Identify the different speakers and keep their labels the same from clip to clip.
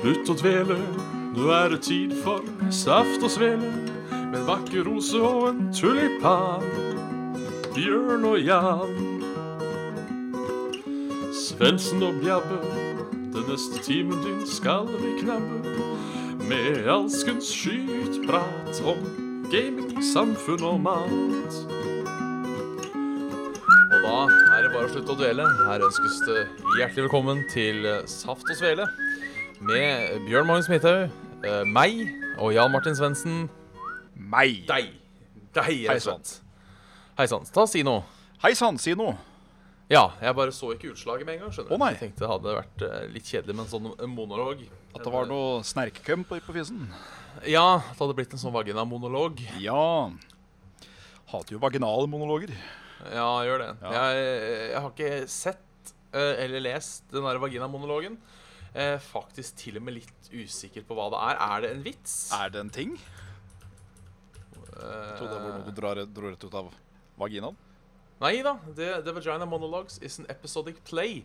Speaker 1: Slutt å dvele, nå er det tid for saft og svele. Med en vakker rose og en tulipan. Bjørn og Jan. Svendsen og Bjabbe, den neste timen din skal vi knabbe. Med alskens skytprat om gaming, samfunn og mat.
Speaker 2: Og da er det bare å slutte å dvele. Her ønskes det hjertelig velkommen til eh, Saft og Svele med Bjørn Magnus Midthaug, eh, meg og Jan Martin Svendsen.
Speaker 3: Meg.
Speaker 2: Deg. Deg,
Speaker 3: Hei
Speaker 2: rett og
Speaker 3: sann.
Speaker 2: slett. Hei sann. Ta si noe.
Speaker 3: Hei sann, si noe.
Speaker 2: Ja, jeg bare så ikke utslaget med en gang. skjønner du.
Speaker 3: Å, nei.
Speaker 2: Jeg tenkte det hadde vært eh, litt kjedelig med en sånn eh, monolog.
Speaker 3: At det var noe snerkekøm på, på fisen.
Speaker 2: Ja, det hadde blitt en sånn vaginamonolog.
Speaker 3: Ja. Hater jo vaginale monologer.
Speaker 2: Ja, gjør det.
Speaker 3: Ja.
Speaker 2: Jeg, jeg har ikke sett eh, eller lest den der vaginamonologen. Eh, faktisk til og med litt usikker på hva det er. Er det en vits?
Speaker 3: Er det en ting?
Speaker 2: Eh,
Speaker 3: Jeg trodde det var noe du drar, dro rett ut av vaginaen.
Speaker 2: Eh, Nei da. The, the Vagina Monologues is an episodic play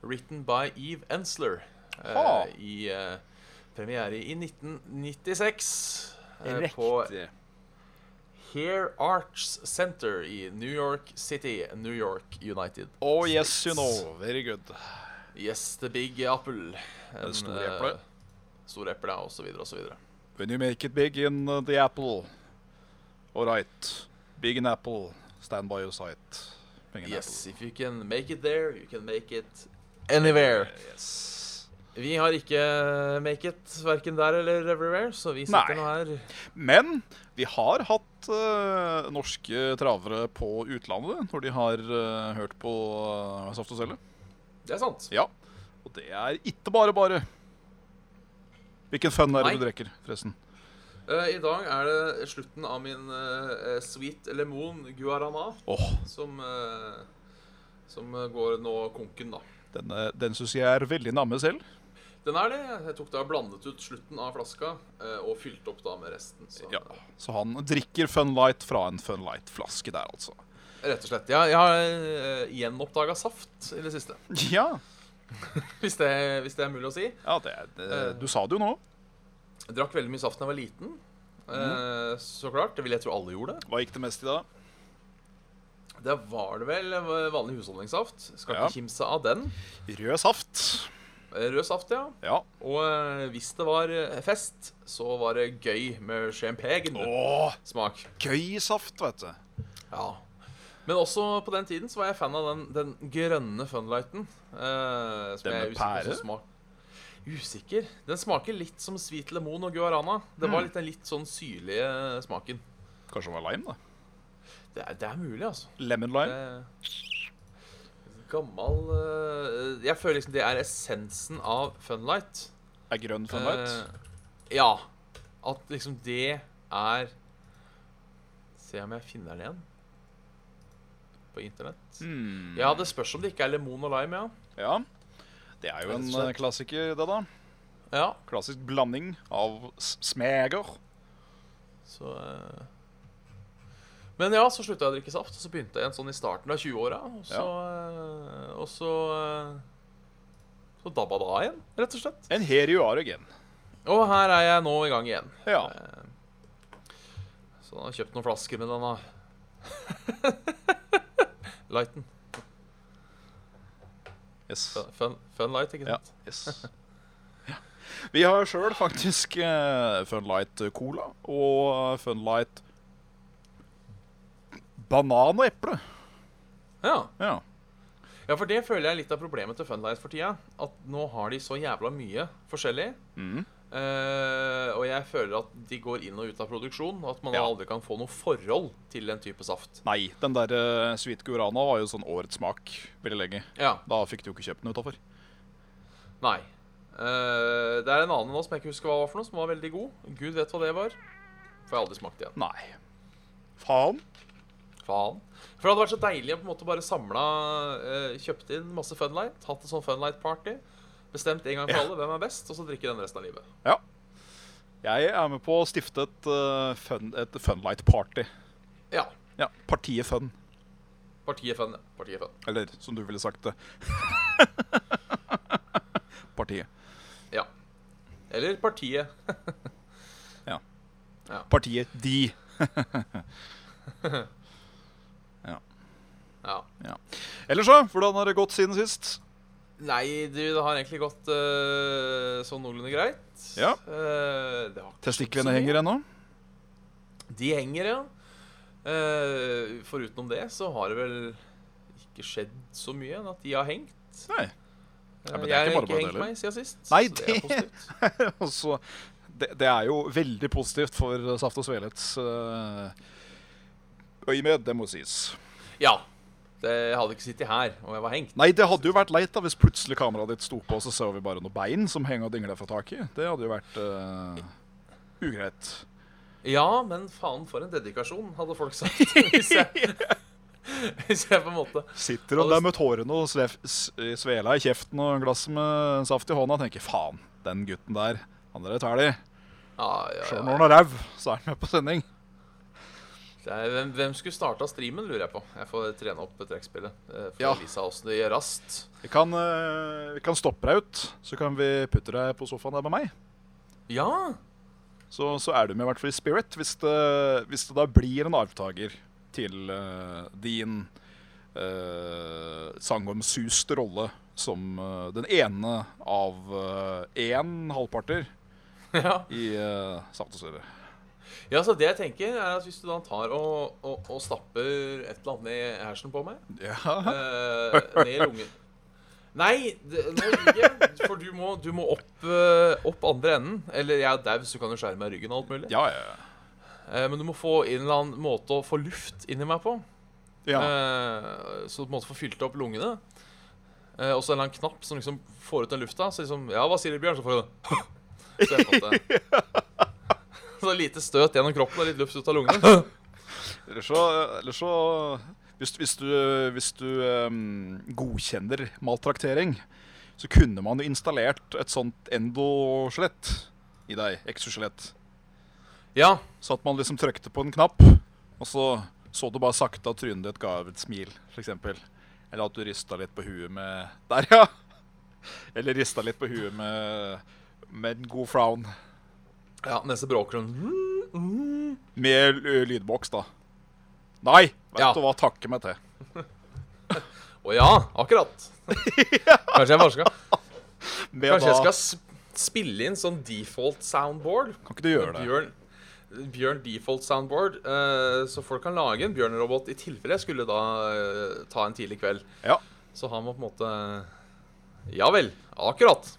Speaker 2: written by Eve Ensler. eh,
Speaker 3: Ha.
Speaker 2: I eh, premiere i 1996. eh, På
Speaker 3: Riktig.
Speaker 2: Here Arts Center i New York City, New York United.
Speaker 3: Oh yes, you know. Very good.
Speaker 2: Yes, the big apple. En,
Speaker 3: Det store
Speaker 2: eh,
Speaker 3: eplet.
Speaker 2: Store eple, ja, og så videre og så videre.
Speaker 3: When you make it big in uh, the apple. All right. Big in apple. Stand by your side. Big in
Speaker 2: Yes, if you can make it there, you can make it anywhere.
Speaker 3: apple. Yes.
Speaker 2: Vi har ikke eh, make it verken der eller everywhere, så vi
Speaker 3: Nei.
Speaker 2: sitter nå her.
Speaker 3: Men vi har hatt eh, norske travere på utlandet når de har eh, hørt på eh, Saft og Svele.
Speaker 2: Det er sant.
Speaker 3: Ja. Og det er ikke bare bare. Hvilken fun er det
Speaker 2: Nei.
Speaker 3: du drikker, forresten?
Speaker 2: Eh, I dag er det slutten av min eh, eh, sweet lemon guarana,
Speaker 3: Åh,
Speaker 2: som, eh, som eh, går nå konken, da.
Speaker 3: denne, den syns jeg er veldig namme selv.
Speaker 2: Den er det. Jeg tok da blandet ut slutten av flaska eh, og fylte opp da med resten. Så,
Speaker 3: Ja. Så han drikker Fun Light fra en Fun Light-flaske der, altså.
Speaker 2: Rett og slett. Jeg, jeg har uh, gjenoppdaga saft i det siste.
Speaker 3: Ja,
Speaker 2: Hvis det, hvis det er mulig å si.
Speaker 3: ja det, er- det, du sa det jo nå.
Speaker 2: Jeg drakk veldig mye saft da jeg var liten.
Speaker 3: Mhm.
Speaker 2: Eh, så klart. Det vil jeg tro alle gjorde.
Speaker 3: Hva gikk det mest i da?
Speaker 2: Det var det vel eh, vanlig husholdningssaft. Skal
Speaker 3: Ja.
Speaker 2: ikke kimse av den.
Speaker 3: Rød saft.
Speaker 2: Eh, Rød saft, ja.
Speaker 3: Ja.
Speaker 2: Og eh, hvis det var eh, fest, så var det gøy med champagne
Speaker 3: Åh,
Speaker 2: smak.
Speaker 3: gøy saft, vet du.
Speaker 2: Ja. Men også på den tiden så var jeg fan av den, den grønne funlighten. eh, som
Speaker 3: Den med
Speaker 2: jeg er usikker på
Speaker 3: pære?
Speaker 2: så smak. Usikker. Den smaker litt som sweet lemon og guarana. Det
Speaker 3: Mm.
Speaker 2: var litt den litt sånn syrlige smaken.
Speaker 3: Kanskje det var lime, da.
Speaker 2: Det er, det er mulig, altså.
Speaker 3: Lemon lime.
Speaker 2: Det, gammal eh, Jeg føler liksom det er essensen av funlight.
Speaker 3: Er grønn Fun Light.
Speaker 2: Eh, ja. At liksom det er Se om jeg finner den igjen på internett.
Speaker 3: Hmm.
Speaker 2: Ja, det spørs om det ikke er lemon og lime, ja.
Speaker 3: ja. Det er jo en eh, klassiker, det, da.
Speaker 2: Ja,
Speaker 3: Klassisk blanding av s- smeger.
Speaker 2: så... eh. Men ja, så slutta jeg å drikke saft, og så begynte jeg igjen sånn i starten av 20-åra. Og så, eh, og så eh, Så dabba det av igjen, rett og slett.
Speaker 3: And here you are again.
Speaker 2: Og her er jeg nå i gang igjen.
Speaker 3: Ja.
Speaker 2: Eh, Så han har kjøpt noen flasker med denne lighten.
Speaker 3: Yes.
Speaker 2: Fun- Fun, fun light, ikke
Speaker 3: Ja.
Speaker 2: sant?
Speaker 3: yes. Vi har sjøl faktisk eh, Funlight Cola og eh, Funlight Banan og eple.
Speaker 2: Ja.
Speaker 3: Ja.
Speaker 2: ja. for det føler jeg er litt av problemet til Funlight for tida. At nå har de så jævla mye forskjellig.
Speaker 3: Mm.
Speaker 2: eh, og jeg føler at de går inn og ut av produksjon, og at man
Speaker 3: Ja.
Speaker 2: aldri kan få noe forhold til den type saft.
Speaker 3: Nei, den der eh, Sweet Gurana var jo sånn årets smak veldig lenge.
Speaker 2: Ja.
Speaker 3: Da fikk du jo ikke kjøpt den utafor.
Speaker 2: Nei. Eh, det er en annen nå som jeg ikke husker hva var for noe, som var veldig god. Gud vet hva det var. Får jeg aldri smakt igjen.
Speaker 3: Nei. Faen.
Speaker 2: Faen. For det hadde vært så deilig å på en måte bare samla eh, Kjøpt inn masse Funlight, hatt et sånn Funlight-party. Bestemt en gang for
Speaker 3: Ja.
Speaker 2: alle hvem er best, og så drikke den resten av livet.
Speaker 3: Ja. Jeg er med på å stifte et, eh, fun, et Funlight-party.
Speaker 2: Ja.
Speaker 3: Ja, Partiet Fun.
Speaker 2: Partiet Fun. ja. Partiet Fun.
Speaker 3: Eller som du ville sagt det. Partiet.
Speaker 2: Ja. Eller partiet.
Speaker 3: Partiet De.
Speaker 2: Ja.
Speaker 3: Ellers, da? Hvordan har det gått siden sist?
Speaker 2: Nei, du, det har egentlig gått eh, sånn noenlunde greit.
Speaker 3: Ja.
Speaker 2: Eh, det har,
Speaker 3: Testiklene henger ennå?
Speaker 2: de henger, ja. Eh, foruten om det så har det vel ikke skjedd så mye enn at de har hengt.
Speaker 3: Nei.
Speaker 2: Eh,
Speaker 3: Ja, men det er
Speaker 2: jeg
Speaker 3: ikke bare
Speaker 2: har ikke
Speaker 3: bare
Speaker 2: hengt
Speaker 3: deler.
Speaker 2: meg siden sist.
Speaker 3: Nei,
Speaker 2: så det er
Speaker 3: det-
Speaker 2: positivt.
Speaker 3: Altså, det, det er jo veldig positivt for Saft og Svelets uh, øyemed, det må sies.
Speaker 2: Ja. Det jeg hadde ikke sittet her om jeg var hengt.
Speaker 3: Nei, det hadde jo vært leit da hvis plutselig kameraet ditt sto på, og så så vi bare noen bein som henger og dingler fra taket. Det hadde jo vært eh, ugreit.
Speaker 2: Ja, men faen for en dedikasjon, hadde folk sagt. Hvis jeg, hvis jeg på en måte
Speaker 3: Sitter og der med tårene og svef, s- eh, svela i kjeften og glasset med saft i hånda og tenker faen, den gutten der, han der tar de.
Speaker 2: Ja, ja,
Speaker 3: Sjøl
Speaker 2: ja.
Speaker 3: når han er ræv, så er han med på sending.
Speaker 2: Det er, hvem, hvem skulle starta streamen, lurer jeg på. Jeg får trene opp trekkspillet. eh, For
Speaker 3: Ja.
Speaker 2: å vise åssen det gjør raskt.
Speaker 3: Vi kan, eh, vi kan stoppe deg ut, så kan vi putte deg på sofaen der med meg.
Speaker 2: Ja!
Speaker 3: Så, så er du med i hvert fall i spirit, hvis det, hvis det da blir en arvtaker til eh, din uh, sagnomsuste rolle som eh, den ene av eh, én halvparter
Speaker 2: ja.
Speaker 3: i uh, Saft og Søre.
Speaker 2: Ja, så det jeg tenker er at Hvis du da tar og, og, og stapper et eller annet ned i hersen på meg
Speaker 3: Ja.
Speaker 2: eh, Ned i lungen Nei, det, nå ikke. For du må, du må opp, eh, opp andre enden. Eller jeg er dau, så du kan jo skjære meg i ryggen. og alt mulig
Speaker 3: Ja, ja, ja.
Speaker 2: Eh, Men du må få en eller annen måte å få luft inni meg på.
Speaker 3: ja.
Speaker 2: Eh, Så du på en måte får fylt opp lungene. Eh, Og så en eller annen knapp som liksom får ut den lufta. Så liksom Ja, hva sier du, Bjørn? Så får du det. Så jeg har fått det. Så lite støt gjennom kroppen og litt luft ut av lungene.
Speaker 3: Eller så, eller så hvis, hvis du, hvis du ehm, godkjenner maltraktering, så kunne man jo installert et sånt endoskjelett i deg. Exoskjelett.
Speaker 2: Ja.
Speaker 3: Så at man liksom trykte på en knapp, og så så du bare sakte at trynet ditt ga av et smil, f.eks. Eller at du rista litt på huet med Der, ja! Eller rista litt på huet med, med en god frown.
Speaker 2: Ja, neste bråker hun.
Speaker 3: Med l- lydboks, da. Nei! Vet
Speaker 2: Ja.
Speaker 3: du hva, takke meg til.
Speaker 2: Å ja, akkurat. Kanskje jeg bare skal
Speaker 3: Med
Speaker 2: Kanskje jeg
Speaker 3: da-
Speaker 2: skal sp- spille inn sånn default soundboard.
Speaker 3: Kan ikke du gjøre det?
Speaker 2: Bjørn, Bjørn default soundboard. eh, så folk kan lage en Bjørn-robot i tilfelle jeg skulle da eh, ta en tidlig kveld.
Speaker 3: Ja.
Speaker 2: Så har man på en måte Ja vel. Akkurat.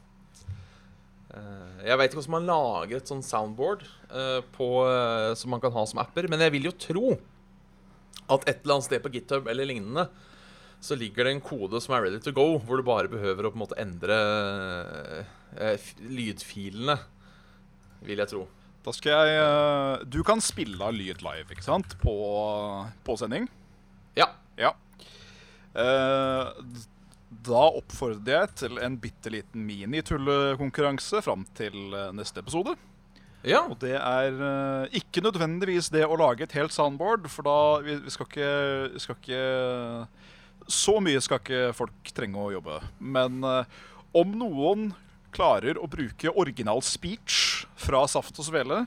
Speaker 2: Eh, jeg veit ikke hvordan man lager et sånn soundboard eh, på, eh, som man kan ha som apper, men jeg vil jo tro at et eller annet sted på GitHub eller lignende så ligger det en kode som er ready to go, hvor du bare behøver å på en måte endre eh, f- lydfilene, vil jeg tro.
Speaker 3: Da skal jeg eh, Du kan spille av lyd live, ikke sant? På, på sending.
Speaker 2: Ja.
Speaker 3: Ja. Eh, d- da oppfordrer jeg til en bitte liten minitullekonkurranse fram til eh, neste episode.
Speaker 2: Ja.
Speaker 3: Og det er eh, ikke nødvendigvis det å lage et helt soundboard, for da vi, vi skal ikke, vi skal ikke Så mye skal ikke folk trenge å jobbe. Men eh, om noen klarer å bruke original speech fra Saft og Svele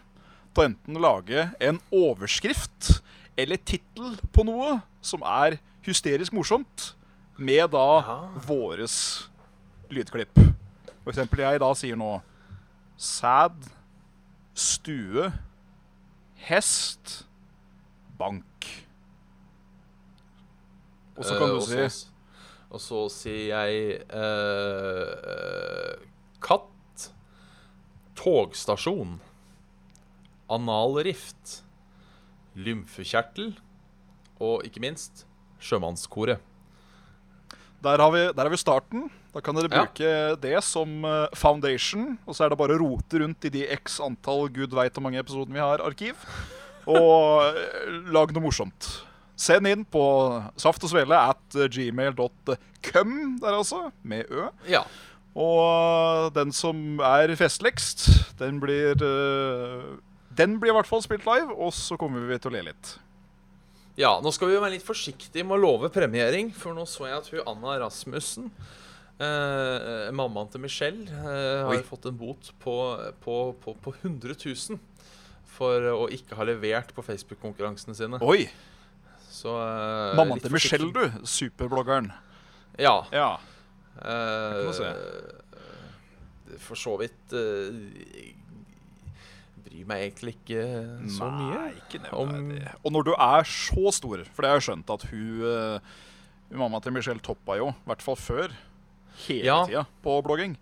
Speaker 3: på enten å lage en overskrift eller tittel på noe som er hysterisk morsomt, med da
Speaker 2: Ja.
Speaker 3: våres lydklipp. For eksempel jeg da sier nå Sæd stue, hest, bank. Og så kan
Speaker 2: Eh,
Speaker 3: du si
Speaker 2: s- Og så sier jeg eh, katt, togstasjon, analrift, lymfekjertel og ikke minst sjømannskoret.
Speaker 3: der har, vi, der har vi starten. Da kan dere
Speaker 2: Ja.
Speaker 3: bruke det som eh, foundation. Og så er det bare å rote rundt i de x antall gud veit hvor mange episoder vi har arkiv. Og eh, lag noe morsomt. Send inn på saft og svele at gmail.com der altså, med ø.
Speaker 2: Ja.
Speaker 3: Og den som er festligst, den blir eh, Den blir i hvert fall spilt live, og så kommer vi til å le litt.
Speaker 2: Ja, nå skal vi jo være litt forsiktige med å love premiering, for nå så jeg at hun Anna Rasmussen Eh, mammaen til Michelle eh, har
Speaker 3: Oi.
Speaker 2: jo fått en bot på, på, på, på 100 000 for å ikke ha levert på Facebook-konkurransene sine.
Speaker 3: Oi!
Speaker 2: Så, eh,
Speaker 3: Mammaen
Speaker 2: litt
Speaker 3: til
Speaker 2: forsiktig.
Speaker 3: Michelle, du. Superbloggeren.
Speaker 2: Ja.
Speaker 3: Ja.
Speaker 2: Eh,
Speaker 3: Det kan
Speaker 2: eh, for så vidt eh, Bryr meg egentlig ikke så mye.
Speaker 3: Nei, ikke
Speaker 2: om-
Speaker 3: nevn det. Og når du er så stor, for det har jeg skjønt at hun eh, Mamma til Michelle toppa jo, i hvert fall før, hele
Speaker 2: Ja.
Speaker 3: tida på blogging.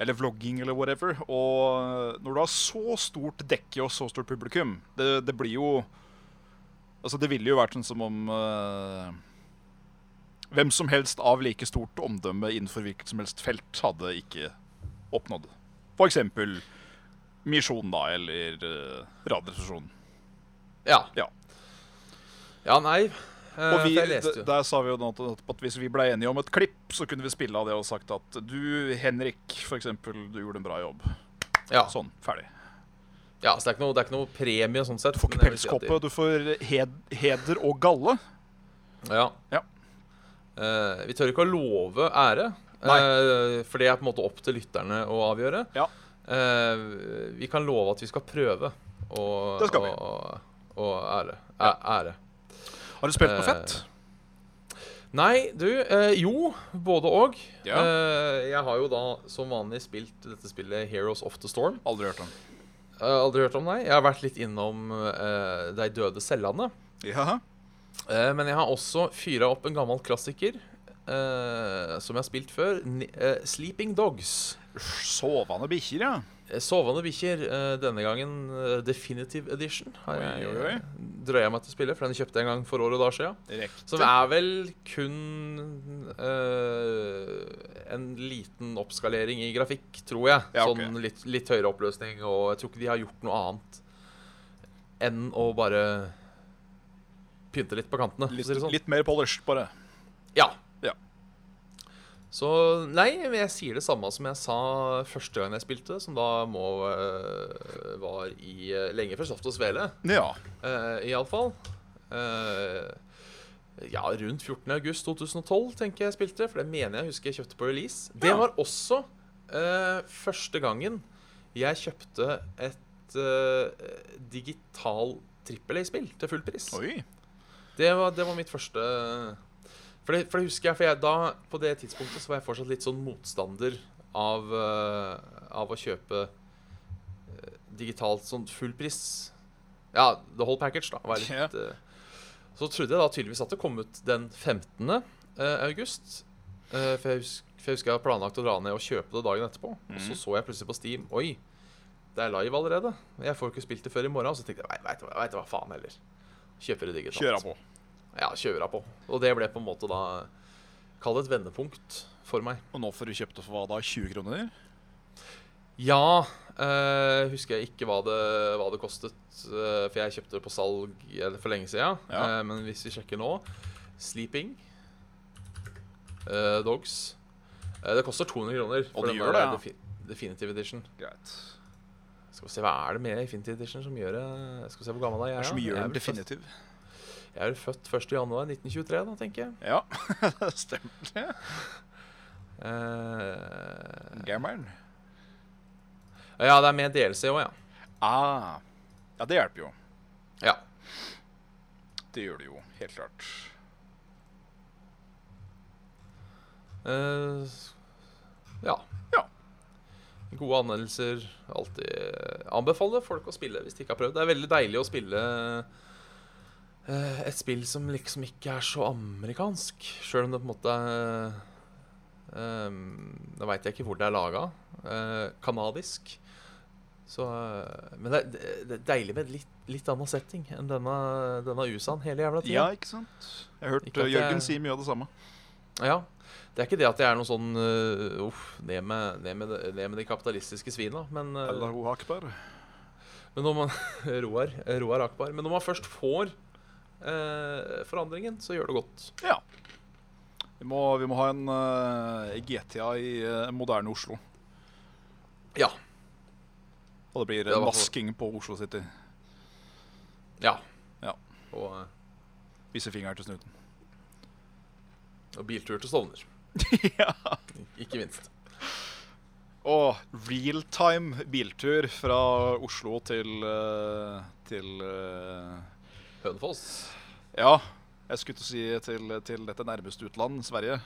Speaker 3: Eller vlogging, eller whatever. Og når du har så stort dekke og så stort publikum, det, det blir jo Altså, det ville jo vært sånn som om eh, hvem som helst av like stort omdømme innenfor hvilket som helst felt hadde ikke oppnådd. For eksempel Misjon, da, eller uh, Radioresepsjonen.
Speaker 2: Ja.
Speaker 3: Ja.
Speaker 2: Ja, nei. eh,
Speaker 3: Og vi,
Speaker 2: for jeg leste
Speaker 3: d-
Speaker 2: jo.
Speaker 3: der sa vi jo nå at at hvis vi ble enige om et klipp, så kunne vi spille av det og sagt at du, Henrik, for eksempel, du gjorde en bra jobb.
Speaker 2: Ja.
Speaker 3: Sånn, ferdig.
Speaker 2: ja, så det er ikke noe, det er ikke noe premie sånn sett.
Speaker 3: Du får ikke
Speaker 2: men jeg vil si at de-
Speaker 3: pelskåpe, du får hed, heder og galle.
Speaker 2: Ja.
Speaker 3: Ja.
Speaker 2: Eh, vi tør ikke å love ære,
Speaker 3: Nei.
Speaker 2: eh, for det er på en måte opp til lytterne å avgjøre.
Speaker 3: Ja.
Speaker 2: Eh, vi kan love at vi skal prøve å,
Speaker 3: Det skal
Speaker 2: å,
Speaker 3: vi.
Speaker 2: å, å ære. Æ, ære.
Speaker 3: Har du spilt noe
Speaker 2: Eh,
Speaker 3: fett?
Speaker 2: Nei, du eh, Jo, både og.
Speaker 3: Ja.
Speaker 2: Eh, jeg har jo da som vanlig spilt dette spillet Heroes of the Storm.
Speaker 3: Aldri hørt om.
Speaker 2: Jeg har aldri hørt om deg. Jeg har vært litt innom eh, De døde cellene.
Speaker 3: Ja.
Speaker 2: Eh, men jeg har også fyra opp en gammel klassiker eh, som jeg har spilt før. Ni eh, Sleeping Dogs.
Speaker 3: Sovende bikkjer, ja.
Speaker 2: Eh, Sovende bikkjer. eh, denne gangen eh, Definitive Edition. Har
Speaker 3: Oi,
Speaker 2: jeg,
Speaker 3: oi, oi.
Speaker 2: eh, drøya meg til å spille, for den kjøpte jeg en gang for år og dager siden. Som
Speaker 3: Riktig.
Speaker 2: er vel kun eh, en liten oppskalering i grafikk, tror jeg.
Speaker 3: Ja, ok.
Speaker 2: Sånn litt, litt høyere oppløsning, og jeg tror ikke de har gjort noe annet enn å bare pynte litt på kantene. for å
Speaker 3: Litt,
Speaker 2: si det sånn.
Speaker 3: litt mer polished, bare.
Speaker 2: Ja.
Speaker 3: Ja.
Speaker 2: Så nei, men jeg sier det samme som jeg sa første gang jeg spilte, som da må øh, var i øh, lenge før Saft og Svele,
Speaker 3: Ja.
Speaker 2: uh, iallfall. Eh, ja, rundt 14. august 2012, tenker jeg spilte, for det mener jeg husker jeg kjøpte på release. Det
Speaker 3: Ja.
Speaker 2: var også øh, første gangen jeg kjøpte et øh, digital trippel A-spill til full pris.
Speaker 3: Oi.
Speaker 2: Det var, det var mitt første for det, for det husker jeg, for jeg da, på det tidspunktet så var jeg fortsatt litt sånn motstander av, eh, av å kjøpe eh, digitalt sånn fullpris. Ja, the whole package, da. Var litt,
Speaker 3: Ja.
Speaker 2: eh, så trodde jeg da tydeligvis at det kom ut den 15. eh, august. Eh, for, jeg husker, for jeg husker jeg hadde planlagt å dra ned og kjøpe det dagen etterpå. Og så så jeg plutselig på Steam Oi, det er live allerede. Jeg får ikke spilt det før i morgen. Så tenkte jeg, nei, veit du hva, vet du hva faen heller. Kjøper det digitalt.
Speaker 3: Kjøra på.
Speaker 2: Ja, kjøra på. Og det ble på en måte da Kall det et vendepunkt for meg.
Speaker 3: Og nå får du kjøpt det for hva da? 20 kroner?
Speaker 2: Ja, eh, husker jeg ikke hva det, hva det kostet, eh, for jeg kjøpte det på salg eh, for lenge siden.
Speaker 3: Ja.
Speaker 2: Eh, men hvis vi sjekker nå Sleeping eh, Dogs. Eh, det koster 200 kroner.
Speaker 3: Og det
Speaker 2: den
Speaker 3: gjør
Speaker 2: der
Speaker 3: det,
Speaker 2: defi- Definitive Edition.
Speaker 3: Greit.
Speaker 2: Skal vi se, Hva er det med Definitive Edition som gjør det Skal vi se hvor gammel
Speaker 3: Det
Speaker 2: jeg er.
Speaker 3: er så
Speaker 2: da?
Speaker 3: mye
Speaker 2: jeg,
Speaker 3: gjør
Speaker 2: er
Speaker 3: den
Speaker 2: vel født,
Speaker 3: definitiv.
Speaker 2: jeg er vel født 1.1.1923, da, tenker jeg.
Speaker 3: Ja, stemmer det.
Speaker 2: Eh,
Speaker 3: Gammeren.
Speaker 2: ja, det er med DLC òg, ja.
Speaker 3: Ah. Ja, det hjelper jo.
Speaker 2: Ja.
Speaker 3: Det gjør det jo, helt klart.
Speaker 2: Eh, ja.
Speaker 3: Ja.
Speaker 2: Gode anmeldelser. Alltid eh, anbefaler folk å spille hvis de ikke har prøvd. Det er veldig deilig å spille eh, et spill som liksom ikke er så amerikansk, sjøl om det på en måte er eh, Da veit jeg ikke hvor det er laga. Kanadisk. Så, eh, men det er, det er deilig med en litt, litt annen setting enn denne, denne USA-en hele jævla tida.
Speaker 3: Ja, ikke sant? Jeg har hørt
Speaker 2: Ikke at
Speaker 3: eh, Jørgen
Speaker 2: jeg-
Speaker 3: si mye av det samme.
Speaker 2: Ja. Det er ikke det at jeg er noe sånn øh, Uff, ned med, ned, med, det- ned med de kapitalistiske svina. Men, øh,
Speaker 3: Allahu akbar.
Speaker 2: men når man Roar, eh, Roar Akbar. Men når man først får øh, forandringen, så gjør det godt.
Speaker 3: Ja. Vi må, vi må ha en eh, GTA i eh, moderne Oslo.
Speaker 2: Ja.
Speaker 3: Og det blir eh,
Speaker 2: Ja, hva for-
Speaker 3: vasking på Oslo City.
Speaker 2: Ja.
Speaker 3: Ja.
Speaker 2: Og, øh,
Speaker 3: Vise fingeren til snuten.
Speaker 2: og biltur til Stovner.
Speaker 3: ja.
Speaker 2: Ikke minst.
Speaker 3: Og realtime biltur fra Oslo til eh, Til eh,
Speaker 2: Hønefoss.
Speaker 3: Ja, jeg skulle til å si til, til dette nærmeste utland, Sverige.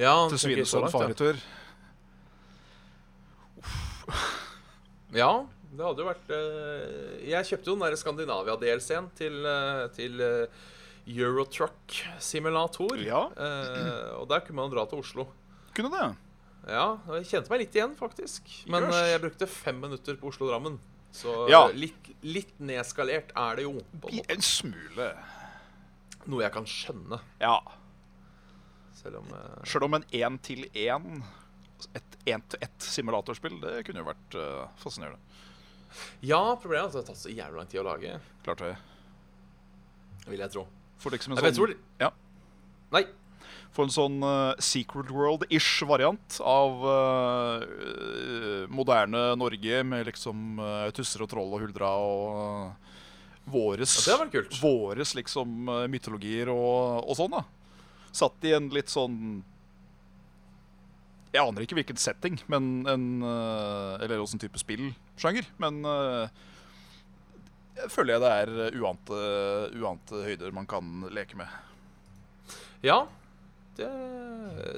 Speaker 2: Ja,
Speaker 3: Til
Speaker 2: tenker jeg så
Speaker 3: Svinesund
Speaker 2: langt, ja.
Speaker 3: faretur.
Speaker 2: Ja, det hadde jo vært eh, Jeg kjøpte jo den der Skandinavia-DLC-en til, eh, til eh, Eurotruck Simulator.
Speaker 3: Ja.
Speaker 2: Eh, og der kunne man jo dra til Oslo.
Speaker 3: Kunne det?
Speaker 2: Ja, og jeg kjente meg litt igjen, faktisk. Men
Speaker 3: Jøss.
Speaker 2: eh, jeg brukte fem minutter på Oslo-Drammen. Så
Speaker 3: Ja.
Speaker 2: eh, litt, litt nedskalert er det jo. På en
Speaker 3: I en smule.
Speaker 2: måte. Noe jeg kan skjønne.
Speaker 3: Ja.
Speaker 2: Selv om eh,
Speaker 3: Sjøl om en én-til-én, et én-til-ett-simulatorspill, det kunne jo vært eh, fascinerende.
Speaker 2: Ja, problemet er at det har tatt så jævlig lang tid å lage,
Speaker 3: Klart det.
Speaker 2: vil jeg tro.
Speaker 3: Får liksom en
Speaker 2: Jeg vet hvor
Speaker 3: sånn,
Speaker 2: de-
Speaker 3: ja,
Speaker 2: Nei.
Speaker 3: får en sånn eh, Secret World-ish variant av eh, moderne Norge med liksom eh, tusser og troll og huldra og eh, våres,
Speaker 2: Ja, det hadde vært kult.
Speaker 3: våres liksom eh, mytologier og, og sånn, da. Satt i en litt sånn Jeg aner ikke hvilken setting, men en, eh, eller åssen type spillsjanger, men eh, jeg føler jeg det er eh, uante, uante høyder man kan leke med.
Speaker 2: Ja. Det,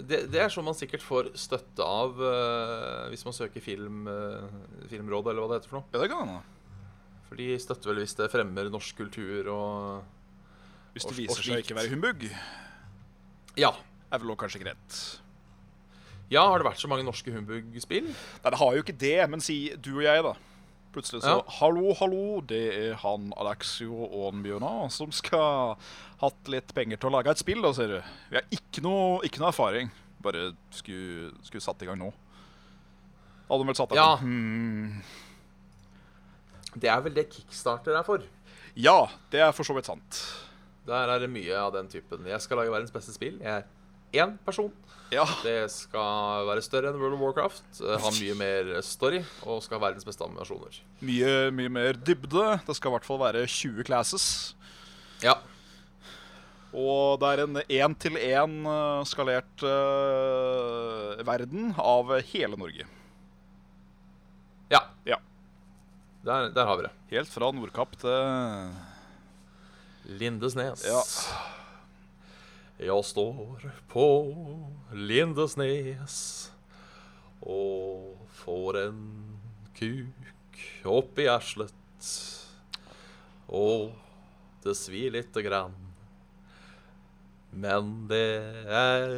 Speaker 2: det, det er sånn man sikkert får støtte av eh, hvis man søker film, eh, Filmrådet, eller hva det heter for noe.
Speaker 3: Ja, det kan hende.
Speaker 2: For de støtter vel hvis det fremmer norsk kultur og
Speaker 3: Hvis
Speaker 2: Og-
Speaker 3: det
Speaker 2: og
Speaker 3: viser seg å
Speaker 2: slikt.
Speaker 3: ikke være humbug,
Speaker 2: Ja.
Speaker 3: er vel også kanskje greit.
Speaker 2: Ja, har det vært så mange norske humbug-spill?
Speaker 3: Nei, det har jo ikke det, men si du og jeg, da. Plutselig så
Speaker 2: Ja.
Speaker 3: Hallo, hallo, det er han Alexio Aanbjørnar som skal hatt litt penger til å lage et spill, da, ser du. Vi har ikke noe, ikke noe erfaring. Bare skulle, skulle satt i gang nå. Hadde de vel satt i
Speaker 2: Ja.
Speaker 3: gang? Hmm.
Speaker 2: Det er vel det kickstarter er for.
Speaker 3: ja, det er for så vidt sant.
Speaker 2: Der er det mye av den typen. Jeg skal lage verdens beste spill. Jeg er én person.
Speaker 3: Ja.
Speaker 2: Det skal være større enn World of Warcraft, eh, ha mye mer story og skal ha verdens beste animasjoner.
Speaker 3: Mye, mye mer dybde. Det skal i hvert fall være 20 classes.
Speaker 2: Ja.
Speaker 3: Og det er en én-til-én eh, skalert eh, verden av hele Norge.
Speaker 2: Ja.
Speaker 3: Ja.
Speaker 2: Der, der har vi det.
Speaker 3: Helt fra Nordkapp til
Speaker 2: Lindesnes.
Speaker 3: Ja.
Speaker 2: Jeg står på Lindesnes og får en kuk opp i erslet. Og det svir lite grann. Men det er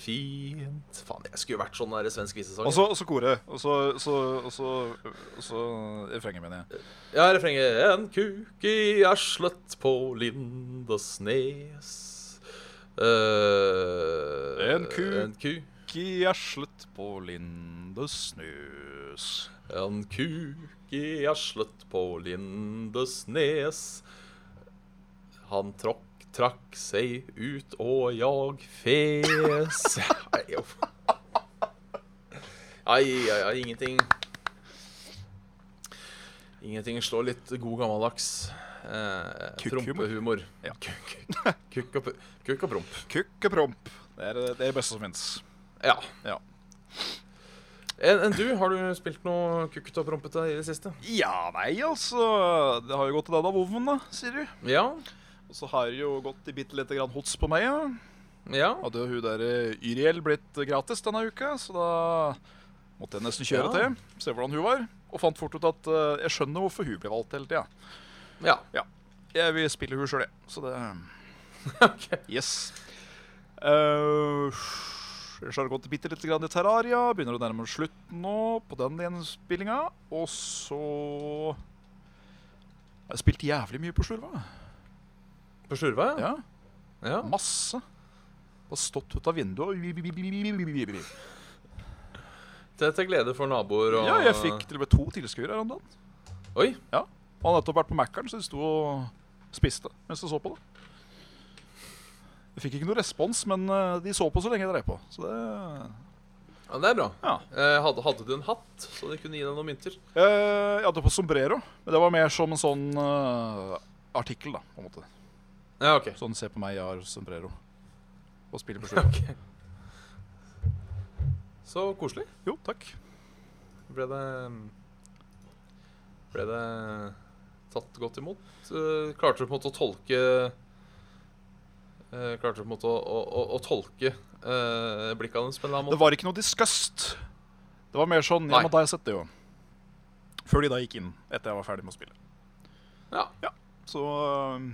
Speaker 2: fint Faen, jeg skulle vært sånn der i svensk visesang.
Speaker 3: Og så og så koret. Og så, så, og så, og så refrenget, mener jeg.
Speaker 2: Ja, refrenget En kuk i erslet på Lindesnes. Eh,
Speaker 3: En ku.
Speaker 2: En ku.
Speaker 3: Ikke gjeslet på Lindesnøs.
Speaker 2: En kuk i erslet på Lindesnes. Han tråkk, trakk seg ut, og jeg fes. Nei, uff. Ai, ai, ai, ingenting. Ingenting slår litt god gammeldags eh,
Speaker 3: Kukkhumor.
Speaker 2: prompehumor.
Speaker 3: Ja.
Speaker 2: Kuk- Kukk og, pu- kukk og promp.
Speaker 3: Kukkepromp. Det er det er det beste som fins.
Speaker 2: Ja.
Speaker 3: Ja.
Speaker 2: Enn enn du, har du spilt noe kukkete og prompete i det siste?
Speaker 3: ja, nei, altså. Det har jo gått til deg, da, Voven, da, sier du.
Speaker 2: Ja.
Speaker 3: Og så har det jo gått i bitte lite grann hots på meg, ja.
Speaker 2: Ja.
Speaker 3: Hadde jo hun der eh, Yriel blitt gratis denne uka, så da måtte jeg nesten kjøre
Speaker 2: Ja.
Speaker 3: til. Se hvordan hun var. Og fant fort ut at eh, jeg skjønner hvorfor hun ble valgt hele tida.
Speaker 2: Ja.
Speaker 3: Jeg vil spille hun sjøl, jeg. Så det
Speaker 2: Ok.
Speaker 3: Yes. Uh, ellers har det gått bitte lite grann i Terraria. Begynner å nærme oss slutten nå på den gjenspillinga. Og så Jeg har spilt jævlig mye på Slurva.
Speaker 2: På Slurva, ja.
Speaker 3: Ja,
Speaker 2: ja.
Speaker 3: masse. Bare stått ut av vinduet og
Speaker 2: Til, til glede for naboer og
Speaker 3: Ja, jeg fikk til og med to tilskuere her om dagen.
Speaker 2: Oi.
Speaker 3: Ja. Han hadde nettopp vært på Mækkern, så de sto og spiste mens de så på det. Jeg fikk ikke noe respons, men eh, de så på så lenge jeg drev på. Så det
Speaker 2: Ja, det er bra.
Speaker 3: Ja.
Speaker 2: Eh, hadde, hadde du en hatt, så de kunne gi deg noen mynter?
Speaker 3: Eh, jeg hadde på sombrero, men det var mer som en sånn eh, artikkel, da, på en måte.
Speaker 2: Ja, OK.
Speaker 3: Sånn se på meg, jeg har sombrero. Og spiller på slutt.
Speaker 2: Ok. Så koselig.
Speaker 3: Jo, takk.
Speaker 2: Ble det Ble det tatt godt imot? Eh, Klarte du på en måte å tolke eh, Klarte du på en måte å, å, å, å tolke eh, blikket hans på en eller annen
Speaker 3: Det
Speaker 2: måte?
Speaker 3: var ikke noe disgust. Det var mer sånn Ja,
Speaker 2: Nei.
Speaker 3: men da har jeg sett det, jo. Før de da gikk inn, etter jeg var ferdig med å spille.
Speaker 2: Ja.
Speaker 3: Så øhm,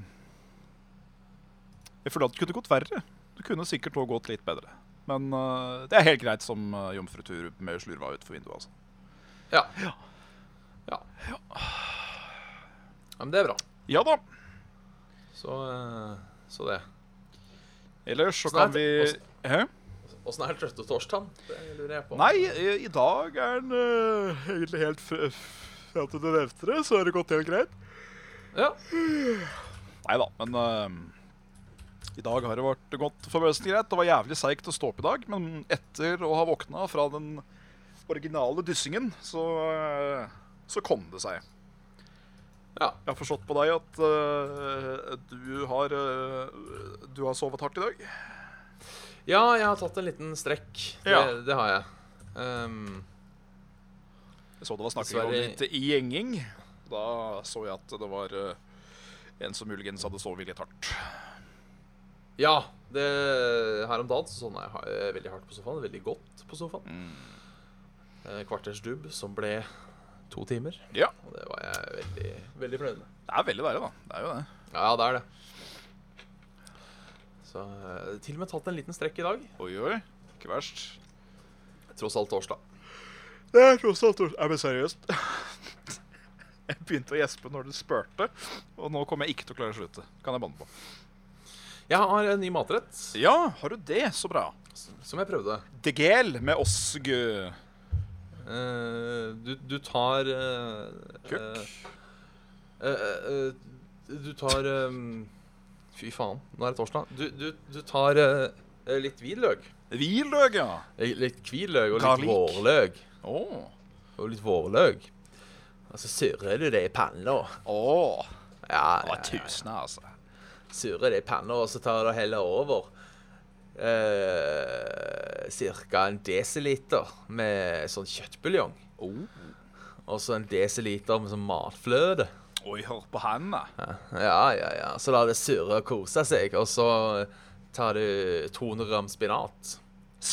Speaker 3: Jeg føler at det kunne gått verre. Det kunne sikkert òg gått litt bedre. Men øh, det er helt greit som øh, jomfrutur med slurva utfor vinduet, altså.
Speaker 2: Ja. ja. Ja. Men det er bra.
Speaker 3: Ja da.
Speaker 2: Så, eh, så det.
Speaker 3: Ellers så
Speaker 2: Snart-
Speaker 3: kan vi
Speaker 2: også-
Speaker 3: Hæ?
Speaker 2: Åssen er trøttetorsdagen? Det lurer jeg på.
Speaker 3: Nei, i, i dag er den øh, egentlig helt fr- Fram til du nevnte det, så har det gått helt greit.
Speaker 2: Ja.
Speaker 3: Nei da, men eh, i dag har det vært gått forbausende greit. Det var jævlig seigt å stå opp i dag, men etter å ha våkna fra den originale dyssingen, så, eh, så kom det seg.
Speaker 2: Ja.
Speaker 3: Jeg har forstått på deg at eh, du har eh, Du har sovet hardt i dag.
Speaker 2: Ja, jeg har tatt en liten strekk. Det,
Speaker 3: Ja.
Speaker 2: det har jeg. Ehm,
Speaker 3: Jeg så det var snakking om
Speaker 2: Dessverre-
Speaker 3: litt gjenging. Da så jeg at det var eh, en som muligens hadde sovet litt hardt.
Speaker 2: ja, det, her om dagen så sovna jeg ha- eh, veldig hardt på sofaen. Veldig godt på sofaen. Eh, Kvarters dubb som ble to timer.
Speaker 3: Ja,
Speaker 2: Og det var jeg veldig, veldig fornøyd med.
Speaker 3: det er veldig verre, da. Det er jo det.
Speaker 2: Ja, det er det. Så eh, til og med tatt en liten strekk i dag.
Speaker 3: Oi, oi. Ikke verst.
Speaker 2: Tross alt torsdag.
Speaker 3: Det er tross alt Nei, men seriøst. Jeg begynte å gjespe når du spurte, og nå kommer jeg ikke til å klare å slutte. Kan jeg banne på.
Speaker 2: Jeg har en ny matrett
Speaker 3: Ja, har du det? Så bra.
Speaker 2: som jeg prøvde.
Speaker 3: Degel med osg.
Speaker 2: Eh, du, du tar eh,
Speaker 3: Kukk.
Speaker 2: eh, eh, eh, du tar eh, Fy faen, nå er det torsdag. Du, du, du tar eh, eh, litt hvitløk.
Speaker 3: Hviløk, ja.
Speaker 2: Eh, Litt hvitløk og
Speaker 3: Garlic.
Speaker 2: litt vårløk.
Speaker 3: Åh.
Speaker 2: Og litt vårløk. Og så surrer du det i panna.
Speaker 3: Åh.
Speaker 2: Ja,
Speaker 3: Det
Speaker 2: ja,
Speaker 3: var
Speaker 2: ja.
Speaker 3: tusen, altså.
Speaker 2: surrer det i panna, og så tar du og heller over eh, cirka en desiliter med sånn kjøttbuljong.
Speaker 3: Oh.
Speaker 2: Og så en desiliter med sånn matfløte.
Speaker 3: Oi, hør på han, da.
Speaker 2: Ja, ja, ja. Så lar det surre og kose seg, og så tar du 200 gram spinat.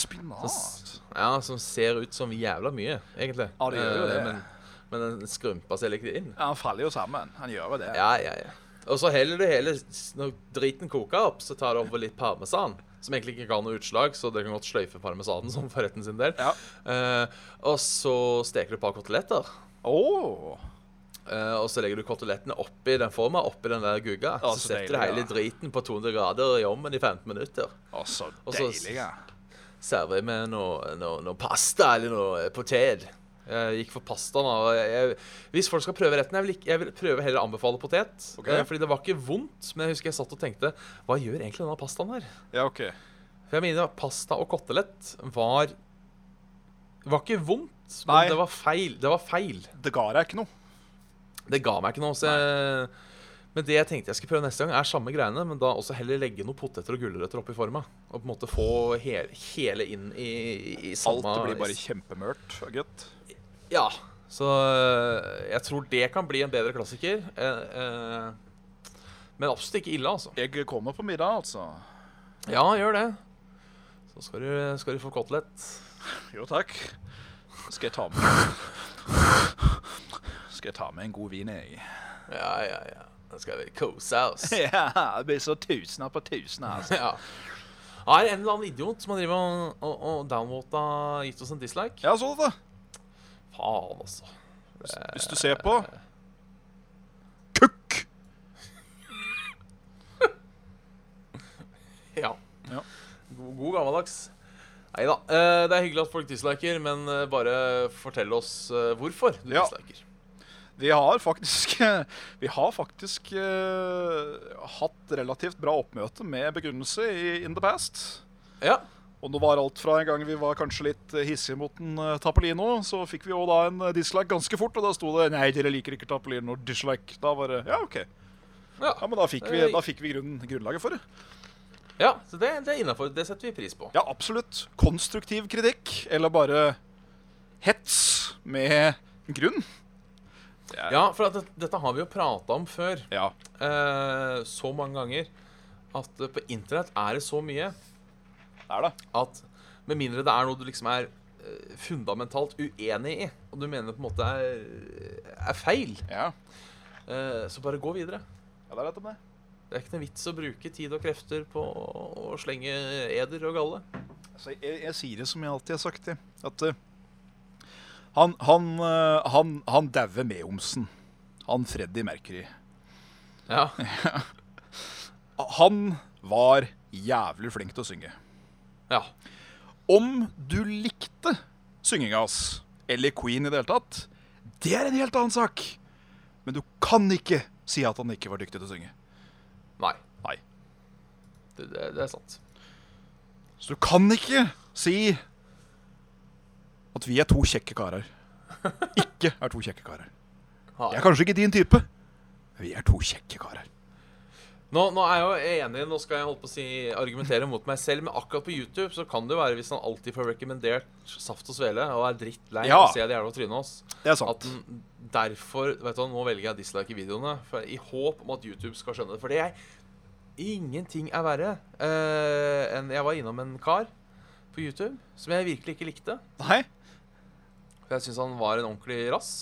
Speaker 3: Spinat.
Speaker 2: Ja, som ser ut som jævla mye, egentlig.
Speaker 3: Ja, det gjør jo
Speaker 2: Eh,
Speaker 3: det.
Speaker 2: Men, men den skrumper seg litt inn.
Speaker 3: Ja, han faller jo sammen. Han gjør jo det.
Speaker 2: Ja, ja, ja. Og så heller du hele Når driten koker opp, så tar du over litt parmesan. Som egentlig ikke ga noe utslag, så det kan godt sløyfe parmesanen som for retten sin del.
Speaker 3: Ja.
Speaker 2: Eh, og så steker du et par koteletter.
Speaker 3: Åh.
Speaker 2: eh, og så legger du kotelettene oppi den forma, oppi den der gugga.
Speaker 3: Ja,
Speaker 2: så,
Speaker 3: så
Speaker 2: setter
Speaker 3: deilig,
Speaker 2: du hele
Speaker 3: ja.
Speaker 2: driten på 200 grader i ovnen i 15 minutter.
Speaker 3: Å, så
Speaker 2: Og så-
Speaker 3: deilig, ja.
Speaker 2: Server med noe, noe, noe pasta eller noe eh, potet. Jeg gikk for pasta nå. og Jeg, hvis folk skal prøve retten, jeg vil, ikke, jeg vil prøve heller å anbefale potet.
Speaker 3: Ok.
Speaker 2: eh, Fordi det var ikke vondt, men jeg husker jeg satt og tenkte Hva gjør egentlig denne pastaen her?
Speaker 3: Ja, OK.
Speaker 2: For jeg mener at pasta og kotelett var Var ikke vondt, men
Speaker 3: Nei.
Speaker 2: det var feil. Det var feil.
Speaker 3: Det ga deg ikke noe.
Speaker 2: Det ga meg ikke noe. Så jeg, men det jeg tenkte jeg skulle prøve neste gang, er samme greiene, men da også heller legge noen poteter og gulrøtter oppi forma. Og på en måte få hele, hele inn i, i, i samme
Speaker 3: Alt det blir bare kjempemørt og godt.
Speaker 2: Ja. Så øh, jeg tror det kan bli en bedre klassiker. Eh, eh, men absolutt ikke ille, altså.
Speaker 3: Jeg kommer på middag, altså.
Speaker 2: Ja, gjør det. Så skal du, skal du få kotelett.
Speaker 3: Jo, takk. Skal jeg ta med Skal jeg ta med en god vin, jeg.
Speaker 2: Ja, ja, ja. Da skal vi kose oss.
Speaker 3: Ja, det blir så tusener på tusener, altså.
Speaker 2: Ja. Er det en eller annen idiot som har drivet og, og, og downvota gitt oss en dislike?
Speaker 3: Ja, så det, da.
Speaker 2: Faen, altså.
Speaker 3: Hvis du ser på Kukk!
Speaker 2: Ja.
Speaker 3: Ja.
Speaker 2: God, god gammeldags. Nei da. det er hyggelig at folk disliker, men eh, bare fortell oss eh, hvorfor du
Speaker 3: Ja.
Speaker 2: disliker.
Speaker 3: Vi har faktisk Vi har faktisk eh, hatt relativt bra oppmøte med begrunnelse i In the Past.
Speaker 2: Ja.
Speaker 3: Og det var alt fra en gang vi var kanskje litt eh, hissige mot en eh, Tappelino, så fikk vi jo da en eh, dislike ganske fort, og da sto det 'Nei, dere liker ikke Tappelino, dislike'. Da var det Ja, OK.
Speaker 2: ja.
Speaker 3: Ja, men da fikk vi, da fikk vi grunnen, grunnlaget for det.
Speaker 2: Ja, så det, det er innafor. Det setter vi pris på.
Speaker 3: Ja, absolutt. Konstruktiv kritikk, eller bare hets med grunn. Det er-
Speaker 2: Ja, for at det, dette har vi jo prata om før
Speaker 3: ja.
Speaker 2: eh, så mange ganger. At eh, på internett er det så mye
Speaker 3: Det er det.
Speaker 2: at med mindre det er noe du liksom er eh, fundamentalt uenig i, og du mener på en måte er, er feil,
Speaker 3: Ja.
Speaker 2: eh, så bare gå videre.
Speaker 3: ja, det er rett om det.
Speaker 2: Det er ikke noe vits å bruke tid og krefter på å å slenge eder og galle.
Speaker 3: Altså, jeg, jeg sier det som jeg alltid har sagt, jeg. At eh, han, han, eh, han, han dauer Mehamsen. Han Freddy Mercury.
Speaker 2: Ja,
Speaker 3: Han var jævlig flink til å synge.
Speaker 2: ja,
Speaker 3: Om du likte synginga hans, eller Queen i det hele tatt, det er en helt annen sak. Men du kan ikke si at han ikke var dyktig til å synge.
Speaker 2: Nei,
Speaker 3: Nei.
Speaker 2: det, det, det er sant.
Speaker 3: Så du kan ikke si at vi er to kjekke karer. Ikke er to kjekke karer. Jeg
Speaker 2: Nei.
Speaker 3: er kanskje ikke din type. men Vi er to kjekke karer.
Speaker 2: Nå, nå er jeg jo enig, nå skal jeg holdt på å si argumentere mot meg selv, men akkurat på YouTube så kan det jo være, hvis han alltid får rekommendert saft og svele, og er drittlei
Speaker 3: Ja.
Speaker 2: og ser det jævla trynet hans,
Speaker 3: Det er
Speaker 2: at
Speaker 3: sant.
Speaker 2: den derfor vet du, hva, Nå velger jeg å dislike videoene, for, i håp om at YouTube skal skjønne det. For det er ingenting er verre eh, enn Jeg var innom en kar på YouTube som jeg virkelig ikke likte.
Speaker 3: Nei?
Speaker 2: For jeg syns han var en ordentlig rass.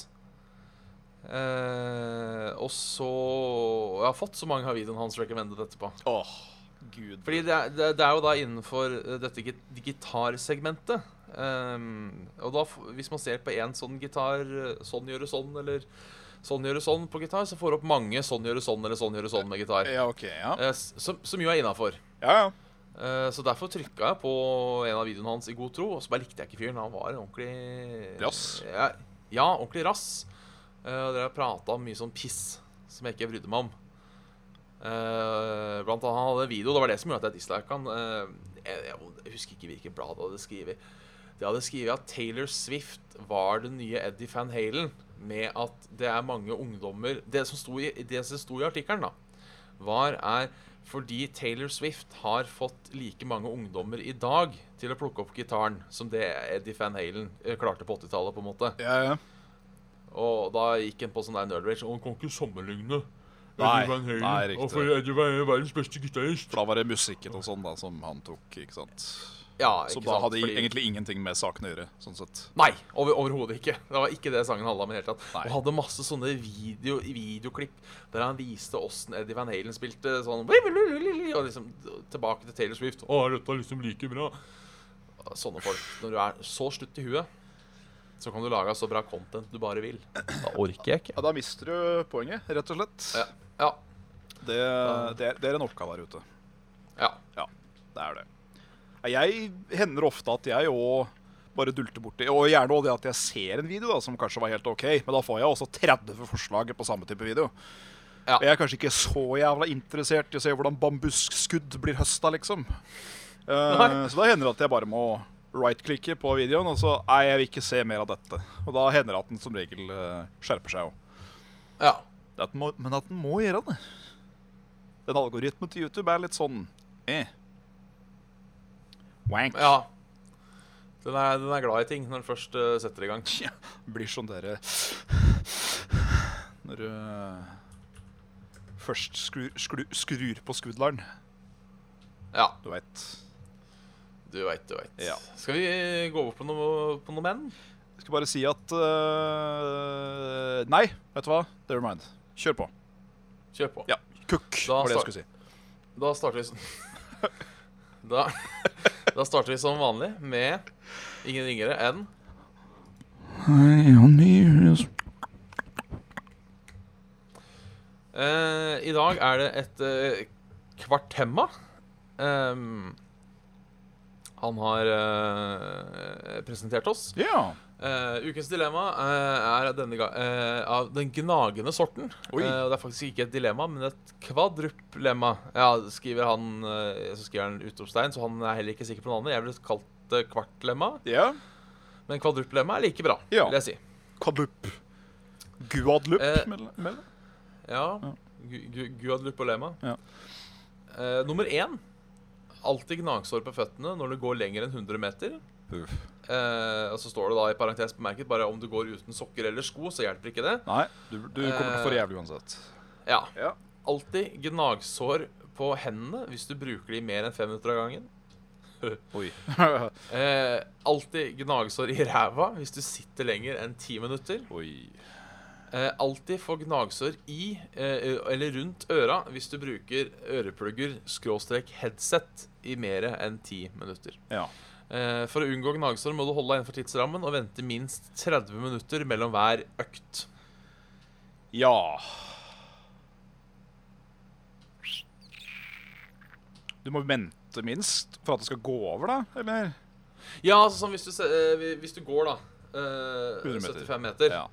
Speaker 2: Eh, og så og Jeg har fått så mange av videoene hans recommended etterpå.
Speaker 3: Åh, gud.
Speaker 2: Fordi det er, det, det er jo da innenfor eh, dette git- gitarsegmentet. Ehm, og da, f- hvis man ser på én sånn gitar, eh, sånn gjøre sånn, eller sånn gjøre sånn på gitar, så får du opp mange sånn gjøre sånn, eller sånn gjøre sånn med gitar.
Speaker 3: Ja, OK. Ja,
Speaker 2: Eh, s- som, som jo er innafor.
Speaker 3: ja. ja.
Speaker 2: Eh, så derfor trykka jeg på en av videoene hans i god tro, og så bare likte jeg ikke fyren. Han var en ordentlig
Speaker 3: Rass?
Speaker 2: Ja, ja ordentlig rass. Eh, og dere prata om mye sånn piss som jeg ikke brydde meg om. Eh, blant annet han hadde en video, det var det som gjorde at jeg dislika han. Eh, jeg, jeg, jeg husker ikke hvilket blad det hadde skrevet. Det hadde skrevet at Taylor Swift var den nye Eddie Van Halen, med at det er mange ungdommer Det som sto i, det som sto i artikkelen, da, var er fordi Taylor Swift har fått like mange ungdommer i dag til å plukke opp gitaren som det Eddie Van Halen eh, klarte på 80-tallet, på en måte.
Speaker 3: ja, ja.
Speaker 2: Og da gikk han på sånn der nerd rage. Og han kan ikke sammenligne
Speaker 3: Nei,
Speaker 2: Eddie Van Halen.
Speaker 3: nei, riktig.
Speaker 2: og for Eddie Van Halen er verdens beste gitarist.
Speaker 3: For da var det musikken og sånn da som han tok, ikke sant.
Speaker 2: Ja,
Speaker 3: Som
Speaker 2: ikke
Speaker 3: da
Speaker 2: sant?
Speaker 3: hadde
Speaker 2: Fordi-
Speaker 3: egentlig ingenting med saken å gjøre, sånn sett.
Speaker 2: Nei, over, overhodet ikke. Det var ikke det sangen handla om. i det hele tatt.
Speaker 3: Nei.
Speaker 2: Og hadde masse sånne video, videoklipp der han viste åssen Eddie Van Halen spilte sånn Og liksom tilbake til Taylor Swift. Å, er dette liksom like bra? Sånne folk. Når du er så slutt i huet, så kan du lage så bra content du bare vil. Da orker jeg ikke.
Speaker 3: Ja, Da mister du poenget, rett og slett.
Speaker 2: Ja. Ja.
Speaker 3: Det, det, er, det er en oppgave der ute.
Speaker 2: ja.
Speaker 3: Ja, det er det. Ja, Jeg hender ofte at jeg òg bare dulter borti. Og gjerne også det at jeg ser en video da, som kanskje var helt OK, men da får jeg også 30 forslag på samme type video.
Speaker 2: Ja.
Speaker 3: Og jeg er kanskje ikke så jævla interessert i å se hvordan bambusskudd blir høsta, liksom. Eh,
Speaker 2: Nei.
Speaker 3: så da hender det at jeg bare må right-klikke på videoen, og så Nei, jeg vil ikke se mer av dette. Og da hender det at den som regel eh, skjerper seg òg.
Speaker 2: ja.
Speaker 3: Det at den må, men at den må gjøre det. Den algoritmen til YouTube er litt sånn eh. Wank.
Speaker 2: ja. Den, er, den er glad i ting når den først eh, setter i gang.
Speaker 3: Tja, Blir sånn dere Når du først skrur, skru, skrur på skudleren,
Speaker 2: Ja,
Speaker 3: du veit.
Speaker 2: du veit, du veit.
Speaker 3: Ja.
Speaker 2: Skal vi gå over på noe, på noe menn?
Speaker 3: Jeg skal bare si at eh, Nei, vet du hva? Never mind. Kjør på.
Speaker 2: Kjør på.
Speaker 3: Ja, Kukk
Speaker 2: Da
Speaker 3: var det jeg
Speaker 2: start-
Speaker 3: skulle si.
Speaker 2: Da starter vi som da, da starter vi som vanlig med ingen ringere enn Eh, I dag er det et eh, kvartemma. Ehm, han har eh, presentert oss.
Speaker 3: Ja.
Speaker 2: Eh, ukens dilemma eh, er denne ga eh, av den gnagende sorten.
Speaker 3: Oi.
Speaker 2: Eh, og det er faktisk ikke et dilemma, men et kvadruplemma. Ja, skriver han eh, Så skriver han utropstegn, så han er heller ikke sikker på navnet. Jeg ville kalt det kvartlemma,
Speaker 3: ja.
Speaker 2: men kvadruplemma er like bra,
Speaker 3: Ja.
Speaker 2: vil jeg si.
Speaker 3: Kabup. Guadlup,
Speaker 2: Eh,
Speaker 3: mel- mel-
Speaker 2: Ja.
Speaker 3: Ja.
Speaker 2: Gu- gu- Guadlupolema.
Speaker 3: Ja.
Speaker 2: Eh, nummer én alltid gnagsår på føttene når du går lenger enn 100 meter.
Speaker 3: Uff.
Speaker 2: Eh, og så står det da i parentes bemerket bare om du går uten sokker eller sko, så hjelper ikke det.
Speaker 3: Nei, du, du kommer til å få
Speaker 2: Eh.
Speaker 3: det jævlig uansett.
Speaker 2: Ja.
Speaker 3: Ja.
Speaker 2: Alltid gnagsår på hendene hvis du bruker de mer enn fem minutter av gangen.
Speaker 3: Oi.
Speaker 2: Eh, alltid gnagsår i ræva hvis du sitter lenger enn ti minutter.
Speaker 3: Oi.
Speaker 2: Eh, alltid få gnagsår i eh, eller rundt øra hvis du bruker øreplugger skråstrek headset i mer enn ti minutter.
Speaker 3: Ja.
Speaker 2: Eh, for å unngå gnagsår må du holde deg innenfor tidsrammen og vente minst 30 minutter mellom hver økt.
Speaker 3: Ja. Du må vente minst for at det skal gå over, da? Eller?
Speaker 2: Ja, altså sånn hvis du, se- eh, hvis du går, da. Eh,
Speaker 3: 100 meter.
Speaker 2: 75 meter.
Speaker 3: Ja.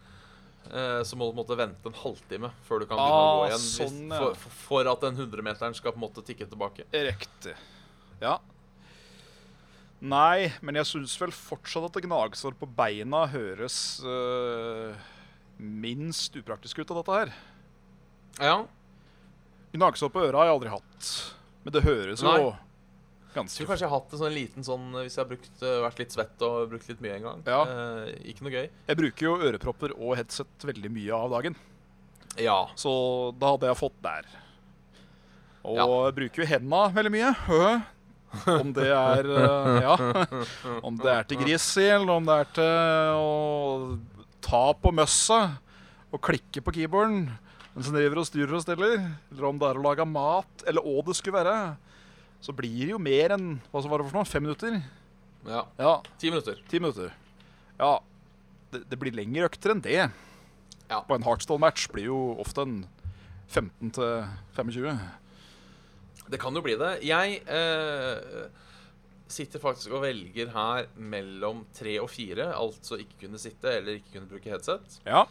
Speaker 2: Eh, så må du på en måte vente en halvtime før du kan begynne å
Speaker 3: Ah,
Speaker 2: gå igjen. Hvis,
Speaker 3: sånn, ja.
Speaker 2: for, for- for at den 100-meteren skal på en måte tikke tilbake.
Speaker 3: Riktig. Ja. Nei, men jeg syns vel fortsatt at det gnagsår på beina høres øh, minst upraktisk ut av dette her.
Speaker 2: Ja,
Speaker 3: Gnagsår på øra har jeg aldri hatt, men det høres jo
Speaker 2: Nei.
Speaker 3: ganske
Speaker 2: Tror kanskje jeg har hatt en sånn liten sånn eh, hvis jeg har brukt, eh, vært litt svett og brukt litt mye en gang.
Speaker 3: Ja.
Speaker 2: Eh, ikke noe gøy.
Speaker 3: Jeg bruker jo ørepropper og headset veldig mye av dagen,
Speaker 2: Ja.
Speaker 3: så da hadde jeg fått der. Og
Speaker 2: Ja.
Speaker 3: jeg bruker jo henda veldig mye. hø. Om det er øh, Ja. Om det er til gris i, eller om det er til å ta på møssa og klikke på keyboarden mens en driver og styrer og steller, eller om det er å lage mat, eller hva det skulle være, så blir det jo mer enn hva som var det for noe? Fem minutter?
Speaker 2: ja.
Speaker 3: Ja.
Speaker 2: Ti minutter.
Speaker 3: Ti minutter. Ja, det, det blir lengre økter enn det.
Speaker 2: Ja.
Speaker 3: På en hardstall-match blir jo ofte en 15 til 25.
Speaker 2: Det kan jo bli det. Jeg eh, sitter faktisk og velger her mellom tre og fire, altså ikke kunne sitte eller ikke kunne bruke headset.
Speaker 3: Ja.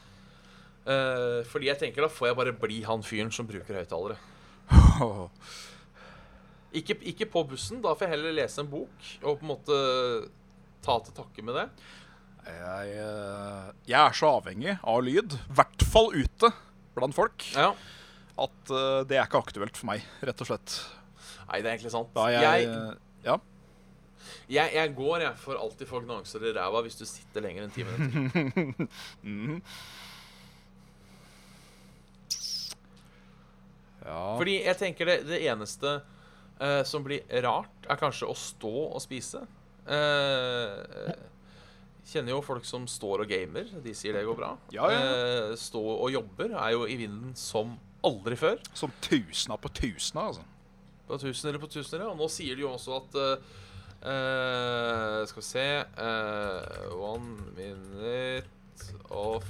Speaker 2: Eh, fordi jeg tenker da får jeg bare bli han fyren som bruker høyttalere. Ikke, ikke på bussen, da får jeg heller lese en bok og på en måte ta til takke med det.
Speaker 3: Jeg, eh, jeg er så avhengig av lyd, i hvert fall ute blant folk,
Speaker 2: Ja.
Speaker 3: at eh, det er ikke aktuelt for meg, rett og slett.
Speaker 2: Nei, det er egentlig sant.
Speaker 3: Da jeg,
Speaker 2: jeg,
Speaker 3: Ja.
Speaker 2: jeg, jeg går jeg for alltid få gnagsår i ræva hvis du sitter lenger enn ti minutter.
Speaker 3: ja.
Speaker 2: Fordi jeg tenker det, det eneste eh, som blir rart, er kanskje å stå og spise. Eh, kjenner jo folk som står og gamer. De sier det går bra.
Speaker 3: Ja, ja,
Speaker 2: Eh, stå og jobber er jo i vinden som aldri før.
Speaker 3: Som tusener på tusener, altså.
Speaker 2: På tusener på tusener, ja. Og nå sier de jo også at eh, eh, Skal vi se eh, One minute of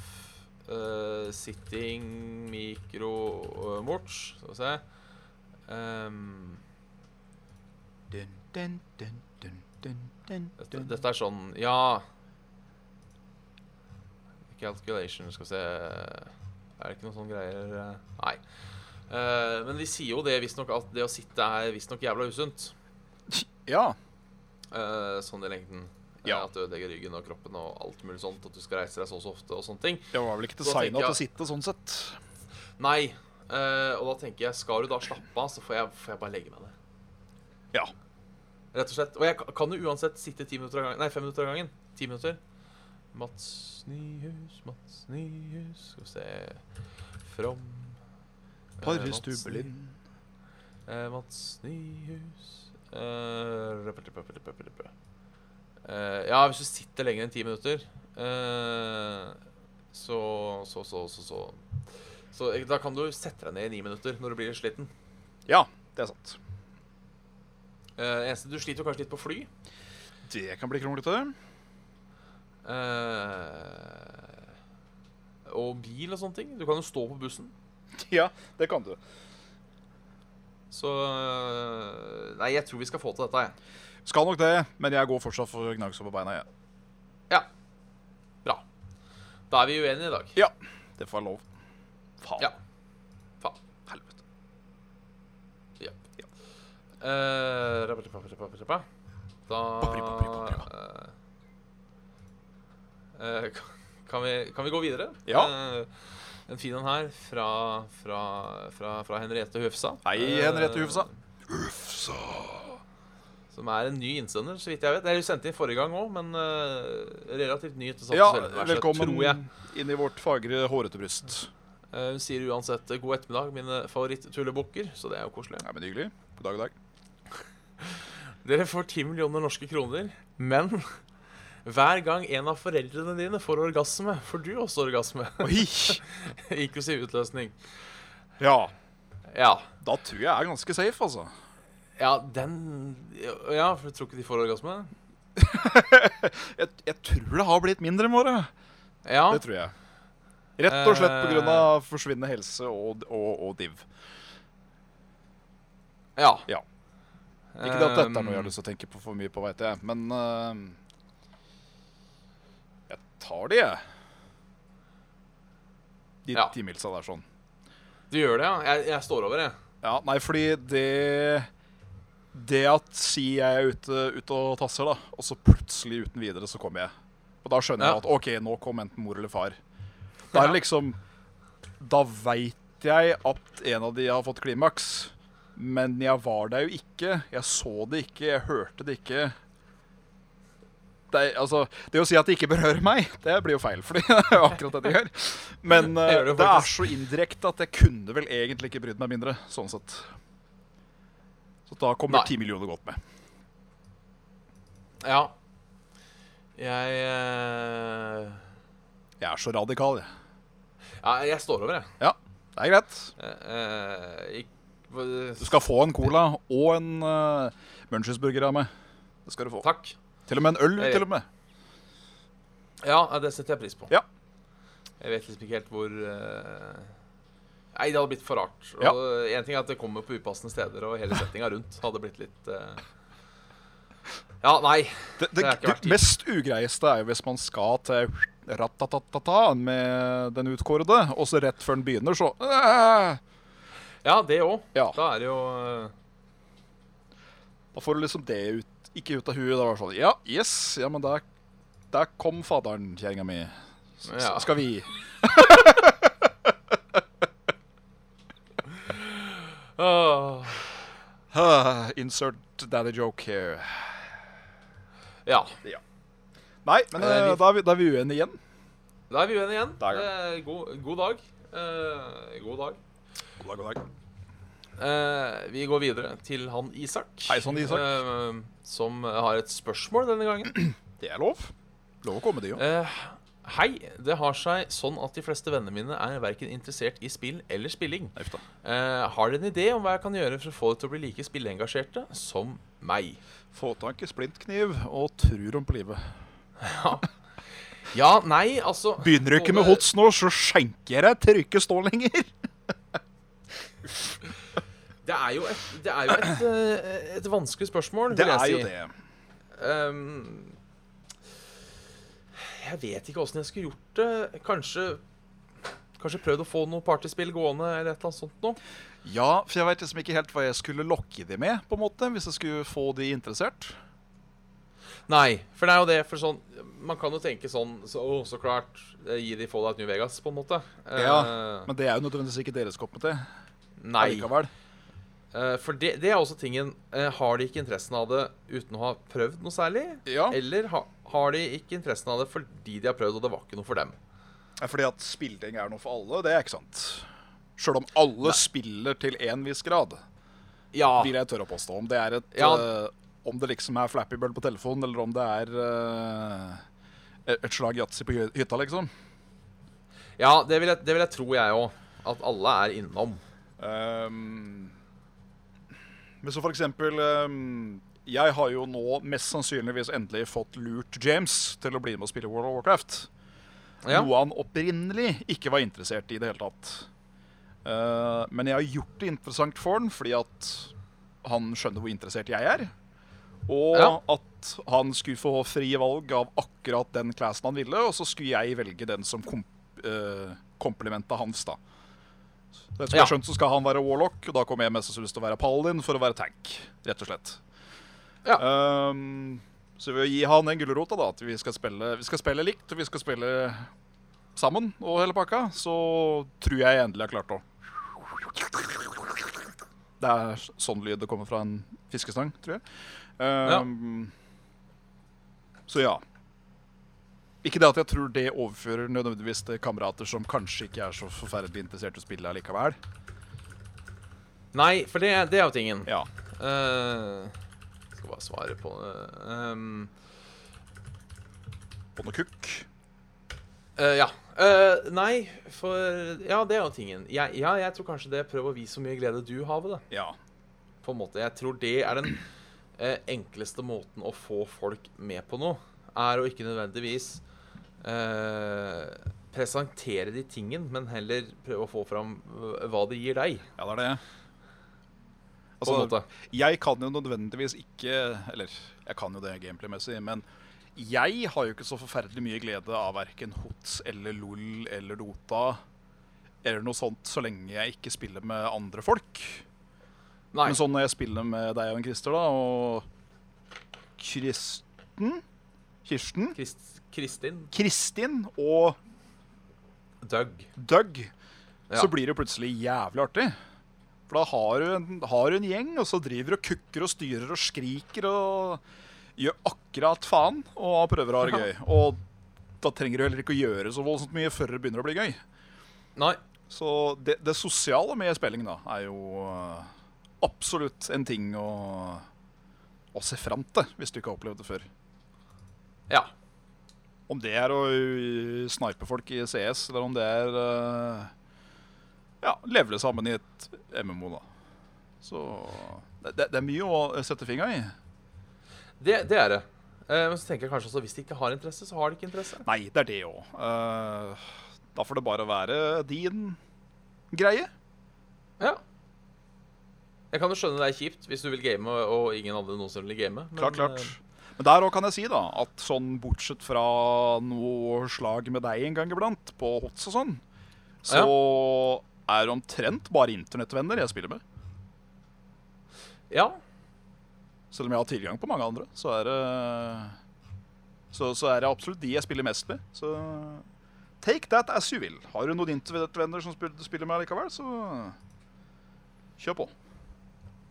Speaker 2: eh, sitting micro eh, morch. Skal vi se. Ehm,
Speaker 3: Dun, dun, dun, dun, dun, dun,
Speaker 2: dette,
Speaker 3: dun.
Speaker 2: dette er sånn Ja. Calculation, skal vi se Er det ikke noen sånne greier eh? Nei. Eh, men de sier jo det visstnok at det å sitte er visstnok jævla usunt.
Speaker 3: Ja.
Speaker 2: Eh, sånn i lengden. Eh,
Speaker 3: Ja.
Speaker 2: At du ødelegger ryggen og kroppen og alt mulig sånt. At du skal reise deg så og så ofte og sånne ting.
Speaker 3: Jeg var vel ikke
Speaker 2: Da
Speaker 3: designa
Speaker 2: tenker
Speaker 3: til
Speaker 2: jeg-
Speaker 3: å sitte sånn sett.
Speaker 2: Nei. Eh, og da tenker jeg, skal du da slappe av, så får jeg, får jeg bare legge meg ned.
Speaker 3: Ja.
Speaker 2: Rett og slett. Og jeg ka- kan jo uansett sitte ti minutter av gangen. Nei, fem minutter av gangen. Ti minutter. Mats Nyhus, Mats Nyhus Skal vi se From eh,
Speaker 3: Par
Speaker 2: Mats
Speaker 3: stubbelinn.
Speaker 2: Eh, Mats Nyhus eh, røp, røp, røp, røp, røp, røp. Eh, Ja, hvis du sitter lenger enn ti minutter, eh, så så så så så Så eh, da kan du sette deg ned i ni minutter når du blir litt sliten.
Speaker 3: Ja, det er sant.
Speaker 2: Eh, eneste, du sliter jo kanskje litt på fly.
Speaker 3: Det kan bli kronglete.
Speaker 2: Eh, og bil og sånne ting. Du kan jo stå på bussen.
Speaker 3: Ja, det kan du.
Speaker 2: Så eh, Nei, jeg tror vi skal få til dette, jeg.
Speaker 3: Skal nok det, men jeg går fortsatt for gnagsår på beina. Jeg.
Speaker 2: Ja. Bra. Da er vi uenige i dag.
Speaker 3: Ja, det får være lov. Faen.
Speaker 2: Ja. Faen.
Speaker 3: Helvete.
Speaker 2: Ja.
Speaker 3: Ja.
Speaker 2: Eh, rabba, rabba, rabba, rabba, rabba.
Speaker 3: Papri, papri, papri,
Speaker 2: Da eh, eh, kan, vi, kan vi gå videre?
Speaker 3: Ja.
Speaker 2: Eh, en fin en her fra, fra, fra, fra Henriette Hufsa.
Speaker 3: Hei, Henriette
Speaker 2: Eh,
Speaker 3: Hufsa.
Speaker 2: Som er en ny innsender, så vidt jeg vet. Jeg sendte inn forrige gang òg, men eh, relativt ny til
Speaker 3: Ja,
Speaker 2: Saltnes-universet,
Speaker 3: velkommen
Speaker 2: tror jeg.
Speaker 3: inn i vårt fagre, hårete bryst.
Speaker 2: Eh, hun sier uansett eh, god ettermiddag, mine favoritt-tullebukker, så det er jo koselig.
Speaker 3: Nei, men hyggelig. God dag, god dag.
Speaker 2: Dere får 10 millioner norske kroner, men hver gang en av foreldrene dine får orgasme, får du også orgasme.
Speaker 3: Oi!
Speaker 2: Inklusiv utløsning.
Speaker 3: Ja.
Speaker 2: Ja.
Speaker 3: Da tror jeg jeg er ganske safe, altså.
Speaker 2: Ja, den Ja, for du tror ikke de får orgasme?
Speaker 3: Jeg, jeg tror det har blitt mindre, Måre.
Speaker 2: Ja.
Speaker 3: Det tror jeg. Rett og slett
Speaker 2: Eh.
Speaker 3: pga. forsvinnende helse og, og, og div.
Speaker 2: ja. Ehm,
Speaker 3: Ja. Ikke det at dette er noe jeg har lyst til å tenke på for mye på, veit jeg, men eh, Jeg tar de, jeg. De
Speaker 2: Ja.
Speaker 3: timilsa der sånn.
Speaker 2: Du gjør det, ja? Jeg, jeg står over, jeg.
Speaker 3: Ja, nei, fordi det Det at si jeg er ute, ute og tasser, da, og så plutselig uten videre så kommer jeg. Og da skjønner
Speaker 2: Ja.
Speaker 3: jeg at OK, nå kom enten mor eller far. Da er det liksom Da veit jeg at en av de har fått klimaks. Men jeg var der jo ikke. Jeg så det ikke, jeg hørte det ikke. Det, er, altså, det å si at det ikke berører meg, det blir jo feil, for det er jo akkurat det det gjør. Men eh,
Speaker 2: gjør det jo
Speaker 3: det er
Speaker 2: faktisk.
Speaker 3: så indirekte at jeg kunne vel egentlig ikke brydd meg mindre, sånn sett. Så da kommer
Speaker 2: Nei.
Speaker 3: ti millioner godt med.
Speaker 2: Ja. Jeg eh,
Speaker 3: Jeg er så radikal, jeg.
Speaker 2: Ja, jeg står over, jeg.
Speaker 3: Det er greit.
Speaker 2: Eh, eh,
Speaker 3: Du
Speaker 2: ikk-
Speaker 3: skal få en cola og en uh, munchiesburger av meg. Det skal du få.
Speaker 2: Takk.
Speaker 3: Til og med en øl,
Speaker 2: Nei.
Speaker 3: til og med.
Speaker 2: Ja, ja, det setter jeg pris på.
Speaker 3: Ja.
Speaker 2: Jeg vet liksom ikke helt hvor eh, Nei, det hadde blitt for rart. Og
Speaker 3: Ja.
Speaker 2: En ting er at det kommer på upassende steder, og hele settinga rundt hadde blitt litt eh, Ja, nei.
Speaker 3: Det,
Speaker 2: Det
Speaker 3: det,
Speaker 2: har ikke
Speaker 3: det,
Speaker 2: vært tid.
Speaker 3: mest ugreieste er jo hvis man skal til ratatatata med den utkårede, og så rett før den begynner, så øh,
Speaker 2: Ja, det òg.
Speaker 3: Ja.
Speaker 2: Da er det jo eh,
Speaker 3: Da får du liksom det ut, ikke ut av huet. Da var det sånn Ja, yes, ja, men der, der kom faderen, kjerringa mi. S- s-
Speaker 2: Ja.
Speaker 3: Skal vi
Speaker 2: åh.
Speaker 3: Ah, Insert daddy joke here.
Speaker 2: Ja.
Speaker 3: Nei, men
Speaker 2: Eh,
Speaker 3: eh,
Speaker 2: vi-
Speaker 3: da, er vi, da er vi uenige igjen.
Speaker 2: Da er vi uenige igjen.
Speaker 3: Da er vi.
Speaker 2: Eh, god, god dag. Eh, god dag.
Speaker 3: God dag, god dag.
Speaker 2: Eh, vi går videre til han Isak.
Speaker 3: Hei sann, Isak.
Speaker 2: eh, som har et spørsmål denne gangen.
Speaker 3: Det er lov. Lov å komme, det jo.
Speaker 2: Eh, hei. Det har seg sånn at de fleste vennene mine er verken interessert i spill eller spilling.
Speaker 3: Uff da.
Speaker 2: Eh, har dere en idé om hva jeg kan gjøre for å få dem til å bli like spilleengasjerte som meg?
Speaker 3: Få tak i splintkniv og trur om på livet.
Speaker 2: Ja, nei, altså
Speaker 3: Begynner du ikke med
Speaker 2: både-
Speaker 3: hots nå, så skjenker jeg deg til du ikke står lenger.
Speaker 2: Det er jo et, det er jo et, eh, et vanskelig spørsmål,
Speaker 3: Det
Speaker 2: vil jeg
Speaker 3: er
Speaker 2: si.
Speaker 3: jo det.
Speaker 2: Ehm, jeg vet ikke åssen jeg skulle gjort det. Kanskje Kanskje prøvd å få noe partyspill gående eller et eller annet sånt noe.
Speaker 3: Ja, for jeg veit liksom ikke helt hva jeg skulle lokke de med, på en måte, hvis jeg skulle få de interessert.
Speaker 2: Nei, for det er jo det for sånn Man kan jo tenke sånn så, å, så klart. eh, Gi de Fallout New Vegas, på en måte. Eh,
Speaker 3: Ja, Men det er jo nødvendigvis ikke deres kopp til.
Speaker 2: nei.
Speaker 3: allikevel.
Speaker 2: Eh, for det, det er også tingen. eh, har de ikke interessen av det uten å ha prøvd noe særlig?
Speaker 3: Ja,
Speaker 2: Eller ha, har de ikke interessen av det fordi de har prøvd, og det var ikke noe for dem?
Speaker 3: fordi at spilling er noe for alle, det er ikke sant. Sjøl om alle spiller til en viss grad,
Speaker 2: Ja.
Speaker 3: vil jeg tørre å påstå. Om det er et
Speaker 2: Ja.
Speaker 3: eh, Om det liksom er Flappy Bird på telefonen, eller om det er eh, et slag yatzy på hy- hytta, liksom.
Speaker 2: Ja, det vil jeg, det vil jeg tro, jeg òg. At alle er innom.
Speaker 3: Ehm, men så for eksempel ehm, Jeg har jo nå mest sannsynligvis endelig fått lurt James til å bli med og spille World of Warcraft.
Speaker 2: Ja.
Speaker 3: Noe han opprinnelig ikke var interessert i det hele tatt. Eh, men jeg har gjort det interessant for han fordi at han skjønner hvor interessert jeg er. Og
Speaker 2: Ja.
Speaker 3: at han skulle få fri valg av akkurat den classen han ville, og så skulle jeg velge den som komp eh, komplementet hans, da. Så etter som jeg
Speaker 2: Ja.
Speaker 3: har skjønt, så skal han være warlock, og da kommer jeg mest sannsynlig til å være paladin for å være tank, rett og slett.
Speaker 2: Ja.
Speaker 3: Ehm, så ved å gi han den gulrota, da, at vi skal, spille, vi skal spille likt, og vi skal spille sammen og hele pakka, så tror jeg jeg endelig har klart å Det er sånn lyd det kommer fra en fiskestang, tror jeg. Ehm, Så ja. Ikke det at jeg tror det overfører nødvendigvis til kamerater som kanskje ikke er så forferdelig interessert i å spille allikevel.
Speaker 2: Nei, for det, det er jo tingen.
Speaker 3: Ja.
Speaker 2: Eh, skal bare svare på det. Ehm,
Speaker 3: På noe kukk.
Speaker 2: eh, ja. Eh, nei, for Ja, det er jo tingen. Jeg, ja, jeg tror kanskje det prøver å vise hvor mye glede du har ved det.
Speaker 3: Ja.
Speaker 2: På en måte. Jeg tror det er den eh, enkleste måten å få folk med på noe, er å ikke nødvendigvis eh, presentere de tingen, men heller prøve å få fram eh, hva det gir deg.
Speaker 3: ja, det er det.
Speaker 2: På
Speaker 3: Altså,
Speaker 2: en måte.
Speaker 3: Jeg kan jo nødvendigvis ikke Eller jeg kan jo det gameplay-messig, men jeg har jo ikke så forferdelig mye glede av verken HOTS eller LOL eller Dota eller noe sånt, så lenge jeg ikke spiller med andre folk.
Speaker 2: Nei.
Speaker 3: Men sånn når jeg spiller med deg og en Christer, da, og Kristen Kirsten?
Speaker 2: Krist, Kristin.
Speaker 3: Kristin og
Speaker 2: Doug.
Speaker 3: Doug,
Speaker 2: Ja.
Speaker 3: så blir det plutselig jævlig artig. For da har du en, har du en gjeng, og så driver og kukker og styrer og skriker og gjør akkurat faen og prøver å ha det gøy. Og da trenger du heller ikke å gjøre så voldsomt mye før det begynner å bli gøy.
Speaker 2: Nei.
Speaker 3: Så det, det sosiale med spilling da er jo eh, absolutt en ting å, å se fram til, hvis du ikke har opplevd det før.
Speaker 2: Ja.
Speaker 3: Om det er å ø, snipe folk i CS, eller om det er uh, Ja, levele sammen i et MMO, da. Så det, det, det er mye å øh, sette fingra i.
Speaker 2: Det, det er det. Eh, men så tenker jeg kanskje også hvis de ikke har interesse, så har de ikke interesse.
Speaker 3: Nei, det er det òg. Øh, da får det bare være din greie.
Speaker 2: Ja. Jeg kan jo skjønne det er kjipt hvis du vil game og- og ingen andre noensinne vil game. men,
Speaker 3: Klart, klart.
Speaker 2: eh,
Speaker 3: øh, Men der òg kan jeg si da, at sånn bortsett fra noe slag med deg en gang iblant, på hots og sånn, så er det omtrent bare internettvenner jeg spiller med.
Speaker 2: Ja.
Speaker 3: Selv om jeg har tilgang på mange andre, så er det Så, så er det absolutt de jeg spiller mest med. Så take that as you will. Har du noen internettvenner som spiller, spiller med likevel, så kjør på.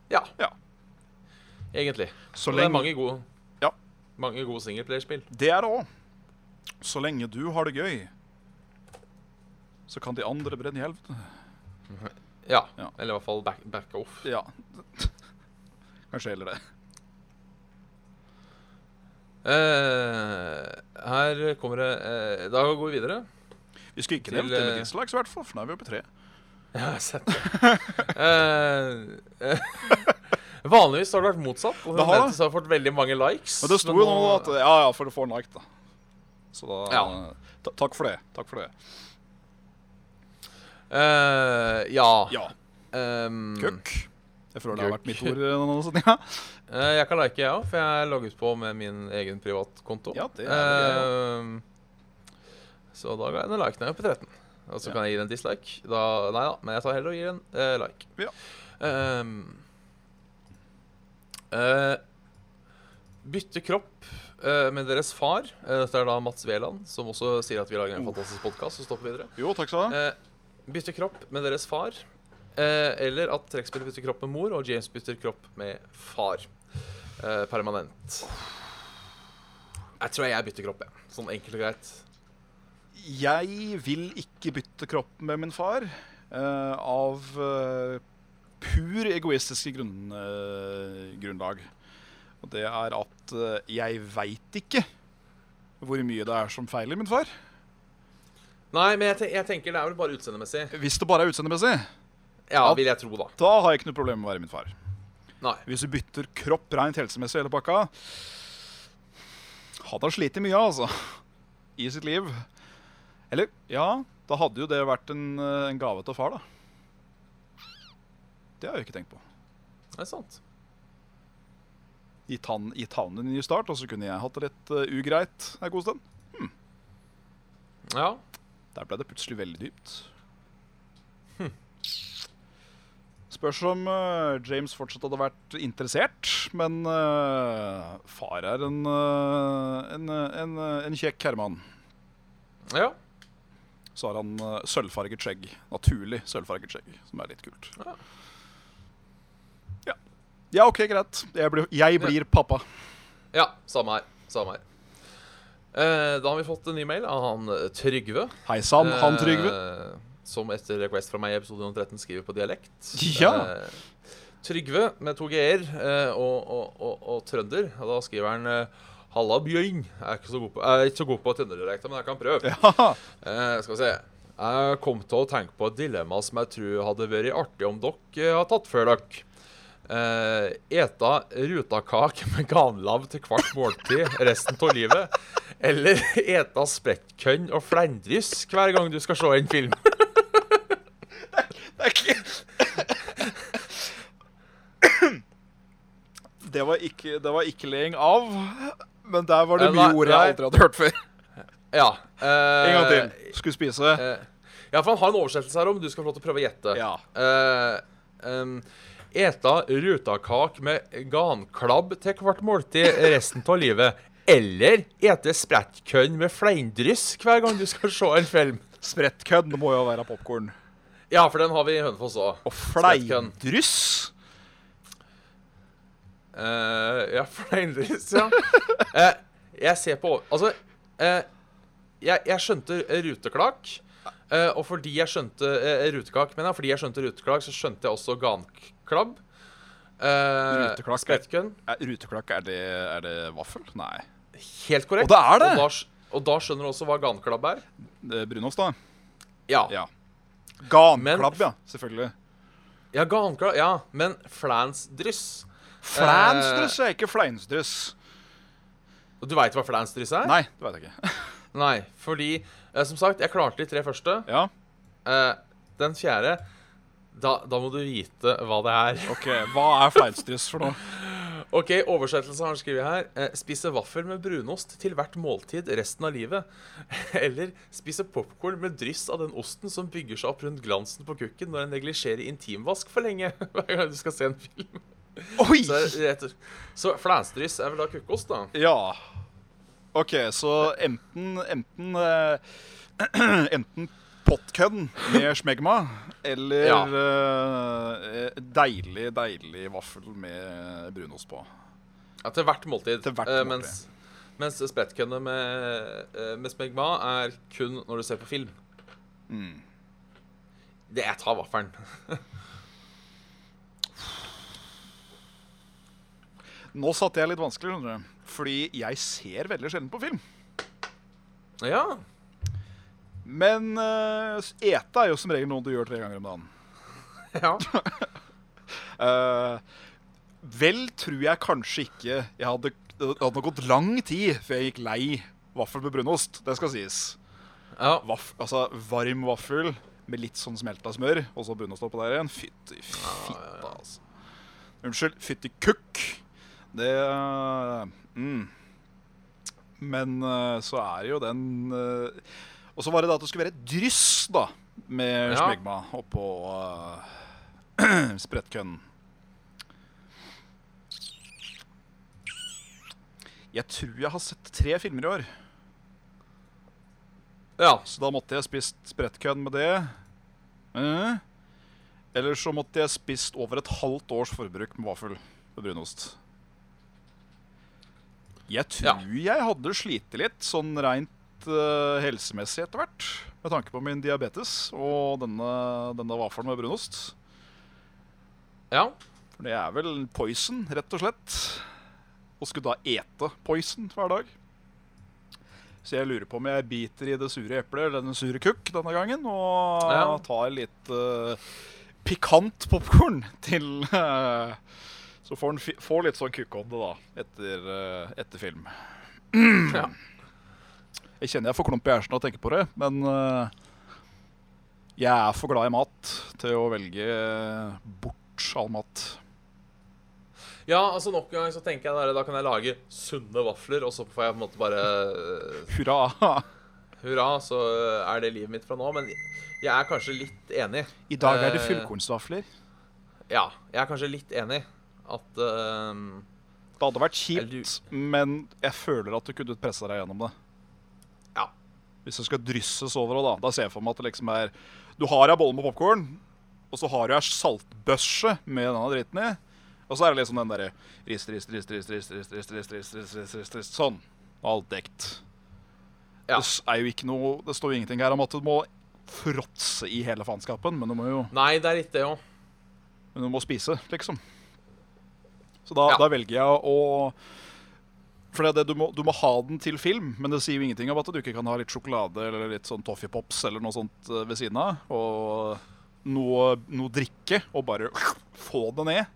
Speaker 2: Ja.
Speaker 3: Ja.
Speaker 2: Egentlig.
Speaker 3: Så
Speaker 2: Og det er
Speaker 3: lenge-
Speaker 2: mange gode
Speaker 3: Ja.
Speaker 2: Mange gode singelplayerspill.
Speaker 3: Det er det òg. Så lenge du har det gøy, så kan de andre brenne i helvete.
Speaker 2: Ja.
Speaker 3: Ja.
Speaker 2: Eller i hvert fall back, back off.
Speaker 3: Ja. Kanskje heller det.
Speaker 2: Eh, her kommer det eh, Da går vi videre.
Speaker 3: Vi skulle ikke
Speaker 2: Til,
Speaker 3: nevnt det med
Speaker 2: eh,
Speaker 3: Dislikes, i hvert fall, for nå er vi oppe i tre.
Speaker 2: Ja, jeg har sett det. Eh, eh, vanligvis har det vært motsatt. Og
Speaker 3: Det har det.
Speaker 2: Mentis har fått veldig mange likes.
Speaker 3: Men det sto jo nå at Ja, ja, for å få en like, da. Så da
Speaker 2: Ja.
Speaker 3: ta- Takk for det. Takk for det.
Speaker 2: Eh, ja.
Speaker 3: Ja.
Speaker 2: ehm,
Speaker 3: Køkk. Jeg føler det har
Speaker 2: Køkk.
Speaker 3: vært mitt ord. eh, Noe sånt, ja.
Speaker 2: eh, jeg kan like, jeg òg, for jeg er logget på med min egen privatkonto.
Speaker 3: Ja, det er det jeg Eh,
Speaker 2: Ehm, så da ga jeg den liken her på 13. Og så
Speaker 3: Ja.
Speaker 2: kan jeg gi den dislike. Da, nei da, men jeg tar heller og gir den eh, like.
Speaker 3: Ja.
Speaker 2: Ehm, eh, bytte kropp eh, med deres far. Eh, dette er da Mats Veland, som også sier at vi lager en
Speaker 3: Uh.
Speaker 2: fantastisk podkast. Og stopper videre.
Speaker 3: Jo, takk skal du ha.
Speaker 2: Eh, bytte kropp med deres far. Eh, eller at trekkspillet bytter kropp med mor, og James bytter kropp med far. Eh, permanent. Jeg tror jeg bytter kropp, jeg. Sånn enkelt og greit.
Speaker 3: Jeg vil ikke bytte kropp med min far eh, av eh, pur egoistiske grunn, eh, grunnlag. Og det er at eh, jeg veit ikke hvor mye det er som feiler min far.
Speaker 2: Nei, men jeg, ten jeg tenker det er vel bare utseendemessig.
Speaker 3: Hvis det bare er utseendemessig,
Speaker 2: Ja,
Speaker 3: Ja.
Speaker 2: vil jeg tro, da.
Speaker 3: da har jeg ikke noe problem med å være min far.
Speaker 2: Nei.
Speaker 3: Hvis du bytter kropp rent helsemessig i hele pakka Hadde han slitt mye, altså. I sitt liv. Eller ja, da hadde jo det vært en, eh, en gave til far, da. Det har jeg jo ikke tenkt på.
Speaker 2: Det er sant.
Speaker 3: Gitt han, gitt han en ny start, og så kunne jeg hatt det litt eh, ugreit en god stund.
Speaker 2: Ja.
Speaker 3: Der ble det plutselig veldig dypt. Hm. Spørs om eh, James fortsatt hadde vært interessert, men eh, far er en, eh, en, eh, en, eh, en kjekk herremann.
Speaker 2: Ja.
Speaker 3: Så har han eh, sølvfarget skjegg. Naturlig sølvfarget skjegg, som er litt kult.
Speaker 2: Ja.
Speaker 3: Ja. Ja, OK, greit. Jeg blir, jeg blir pappa.
Speaker 2: Ja, samme her. Samme her. Eh, da har vi fått en ny mail av han eh, Trygve.
Speaker 3: Hei sann, han Trygve.
Speaker 2: Eh, som etter request fra meg i episode 113 skriver på dialekt.
Speaker 3: Ja.
Speaker 2: Eh, Trygve med to g-er eh, og, og, og, og trønder. Og da skriver han eh, Halla, Bjørn. Jeg er ikke så god på, jeg er ikke så god på trønderdialekta, men jeg kan prøve.
Speaker 3: Ja.
Speaker 2: Eh, skal vi se. Jeg kom til å tenke på et dilemma som jeg tror hadde vært artig om dere har tatt før dere. Eh, eta rutakake med ganlav til hvert måltid resten av livet. Eller eta spettkønn og flendrys hver gang du skal se en film.
Speaker 3: Det er ikke Det var ikke, det var ikke leing av, men der var det
Speaker 2: Eh,
Speaker 3: mye
Speaker 2: nei,
Speaker 3: ord jeg
Speaker 2: nei.
Speaker 3: aldri hadde hørt før.
Speaker 2: Ja. eh,
Speaker 3: En gang til. Skulle spise.
Speaker 2: eh, ja, for han har en oversettelse her om du skal få lov til å prøve å gjette.
Speaker 3: Ja.
Speaker 2: Eh, em, Eta rutakak med ganklabb til hvert måltid resten av livet. Eller ete sprettkønn med fleindryss hver gang du skal se en film.
Speaker 3: Sprettkødd må jo være popkorn.
Speaker 2: Ja, for den har vi i Hønefoss òg.
Speaker 3: Og fleindryss.
Speaker 2: Eh, ja, fleindryss, ja. Eh, jeg ser på Altså, eh, jeg, jeg skjønte ruteklak. eh, og fordi jeg skjønte eh, rutekak, mener jeg, fordi jeg skjønte ruteklak, så skjønte jeg også ganklabb. Uh,
Speaker 3: Ruteklak.
Speaker 2: Sprettkønn.
Speaker 3: Er Ruteklakk, Eh, er det, er det vaffel? Nei.
Speaker 2: Helt
Speaker 3: Og
Speaker 2: korrekt.
Speaker 3: det er det!
Speaker 2: Og da, sk- og da skjønner du også hva ganklabb er.
Speaker 3: Det er Brunost, da?
Speaker 2: Ja.
Speaker 3: Ja.
Speaker 2: ja.
Speaker 3: Ganklabb, ja. Selvfølgelig.
Speaker 2: ganklabb, ja. Men flansdryss
Speaker 3: Flansdryss er ikke fleinsdryss.
Speaker 2: Og Du veit hva flansdryss er?
Speaker 3: Nei, det veit jeg ikke.
Speaker 2: Nei, fordi eh, Som sagt, jeg klarte de tre første.
Speaker 3: Ja,
Speaker 2: Eh, den fjerde da, da må du vite hva det er.
Speaker 3: ok. Hva er fleinsdryss for noe?
Speaker 2: OK, oversettelse har han skrevet her. Eh, spise vaffel med brunost til hvert måltid resten av livet. Eller spise popkorn med dryss av den osten som bygger seg opp rundt glansen på kukken når en neglisjerer intimvask for lenge hver gang du skal se en film.
Speaker 3: Oi!
Speaker 2: Så, er det rett- så flansdryss er vel da kukkost, da?
Speaker 3: Ja. OK, så enten Enten, eh, enten pottkønn med smegma, eller
Speaker 2: Ja.
Speaker 3: eh, deilig, deilig vaffel med brunost på.
Speaker 2: Ja, til hvert måltid.
Speaker 3: Til hvert
Speaker 2: Eh,
Speaker 3: måltid.
Speaker 2: mens mens sprettkønne med, eh, med smegma er kun når du ser på film.
Speaker 3: Mm.
Speaker 2: Det jeg tar vaffelen.
Speaker 3: Nå satte jeg litt vanskelig, skjønner du. Fordi jeg ser veldig sjelden på film.
Speaker 2: Ja.
Speaker 3: Men uh, ete er jo som regel noe du gjør tre ganger om dagen.
Speaker 2: ja.
Speaker 3: Eh, vel tror jeg kanskje ikke jeg hadde, Det hadde gått lang tid før jeg gikk lei vaffel med brunost. Det skal sies.
Speaker 2: ja.
Speaker 3: Vaff, altså varm vaffel med litt sånn smelta smør, og så brunost oppå der igjen. Fytti fitta, altså. Unnskyld, fytti kukk. Det eh, mm. Men eh, så er det jo den eh, Og så var det da at det skulle være et dryss da med
Speaker 2: Ja.
Speaker 3: smegma oppå uh, sprettkønnen. Jeg tror jeg har sett tre filmer i år.
Speaker 2: ja.
Speaker 3: Så da måtte jeg spist sprettkønn med det. Eh. Eller så måtte jeg spist over et halvt års forbruk med vaffel med brunost. Jeg tror jeg hadde slitt litt sånn rent eh, helsemessig etter hvert. Med tanke på min diabetes og denne, denne vaffelen med brunost.
Speaker 2: ja.
Speaker 3: For det er vel poison, rett og slett. Og skulle da ete poison hver dag. Så jeg lurer på om jeg biter i det sure eplet eller den sure kukk denne gangen, og
Speaker 2: Ja.
Speaker 3: tar litt eh, pikant popkorn til eh, Så får en fi får litt sånn kukkånde, da, etter, eh, etter film.
Speaker 2: ja.
Speaker 3: Jeg kjenner jeg får klump i hjersen av å tenke på det, men eh, jeg er for glad i mat til å velge bort all mat.
Speaker 2: Ja, altså Nok en gang så tenker jeg der, da kan jeg lage sunne vafler, og så får jeg på en måte bare eh,
Speaker 3: Hurra!
Speaker 2: Hurra, så er det livet mitt fra nå. Men jeg er kanskje litt enig.
Speaker 3: I dag er det
Speaker 2: Eh,
Speaker 3: fullkornsvafler.
Speaker 2: Ja, jeg er kanskje litt enig at eh,
Speaker 3: Det hadde vært
Speaker 2: Eller
Speaker 3: kjipt, men jeg føler at du kunne pressa deg gjennom det.
Speaker 2: Ja.
Speaker 3: Hvis det skal drysses over, da, da ser jeg for meg at det liksom er Du har ei bolle med popkorn, og så har du ei saltbørse med denne dritten i, Og så er det liksom den derre rist, rist, rist, rist, rist, rist, rist, rist, rist, rist, rist, rist, rist, sånn. Alt dekt.
Speaker 2: Ja.
Speaker 3: Det s- er jo ikke noe Det står jo ingenting her om at du må fråtse i hele faenskapen, men du må jo
Speaker 2: Nei, det er ikke det òg.
Speaker 3: men du må spise, liksom. Så da,
Speaker 2: Ja.
Speaker 3: da velger jeg å For det er det, du, må, du må ha den til film, men det sier jo ingenting om at du ikke kan ha litt sjokolade eller litt sånn Toffee Pops eller noe sånt eh, ved siden av. Og noe, noe drikke, og bare få det ned.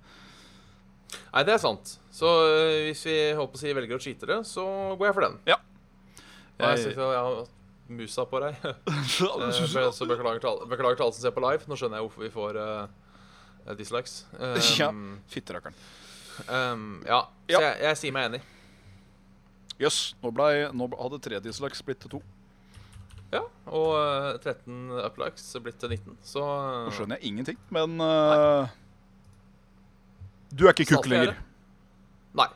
Speaker 2: Nei, det er sant. Så øh, hvis vi håper å si velger å cheate det, så går jeg for den.
Speaker 3: Ja.
Speaker 2: Nei, jeg,
Speaker 3: Jeg-
Speaker 2: synes jeg har hatt musa på deg. Eh, be- så beklager til, alle, beklager til alle som ser på live. Nå skjønner jeg hvorfor vi får eh, dislikes. Eh,
Speaker 3: Ja. Fytterakkeren.
Speaker 2: ehm, ja.
Speaker 3: Ja.
Speaker 2: Så jeg, jeg sier meg enig.
Speaker 3: Jøss, nå, blei- nå hadde tre dislaks blitt til to.
Speaker 2: Ja, Og eh, 13 uplikes er blitt til 19, så eh,
Speaker 3: Nå skjønner jeg ingenting, men eh, Du er ikke kukk
Speaker 2: Salte jeg
Speaker 3: lenger.
Speaker 2: det?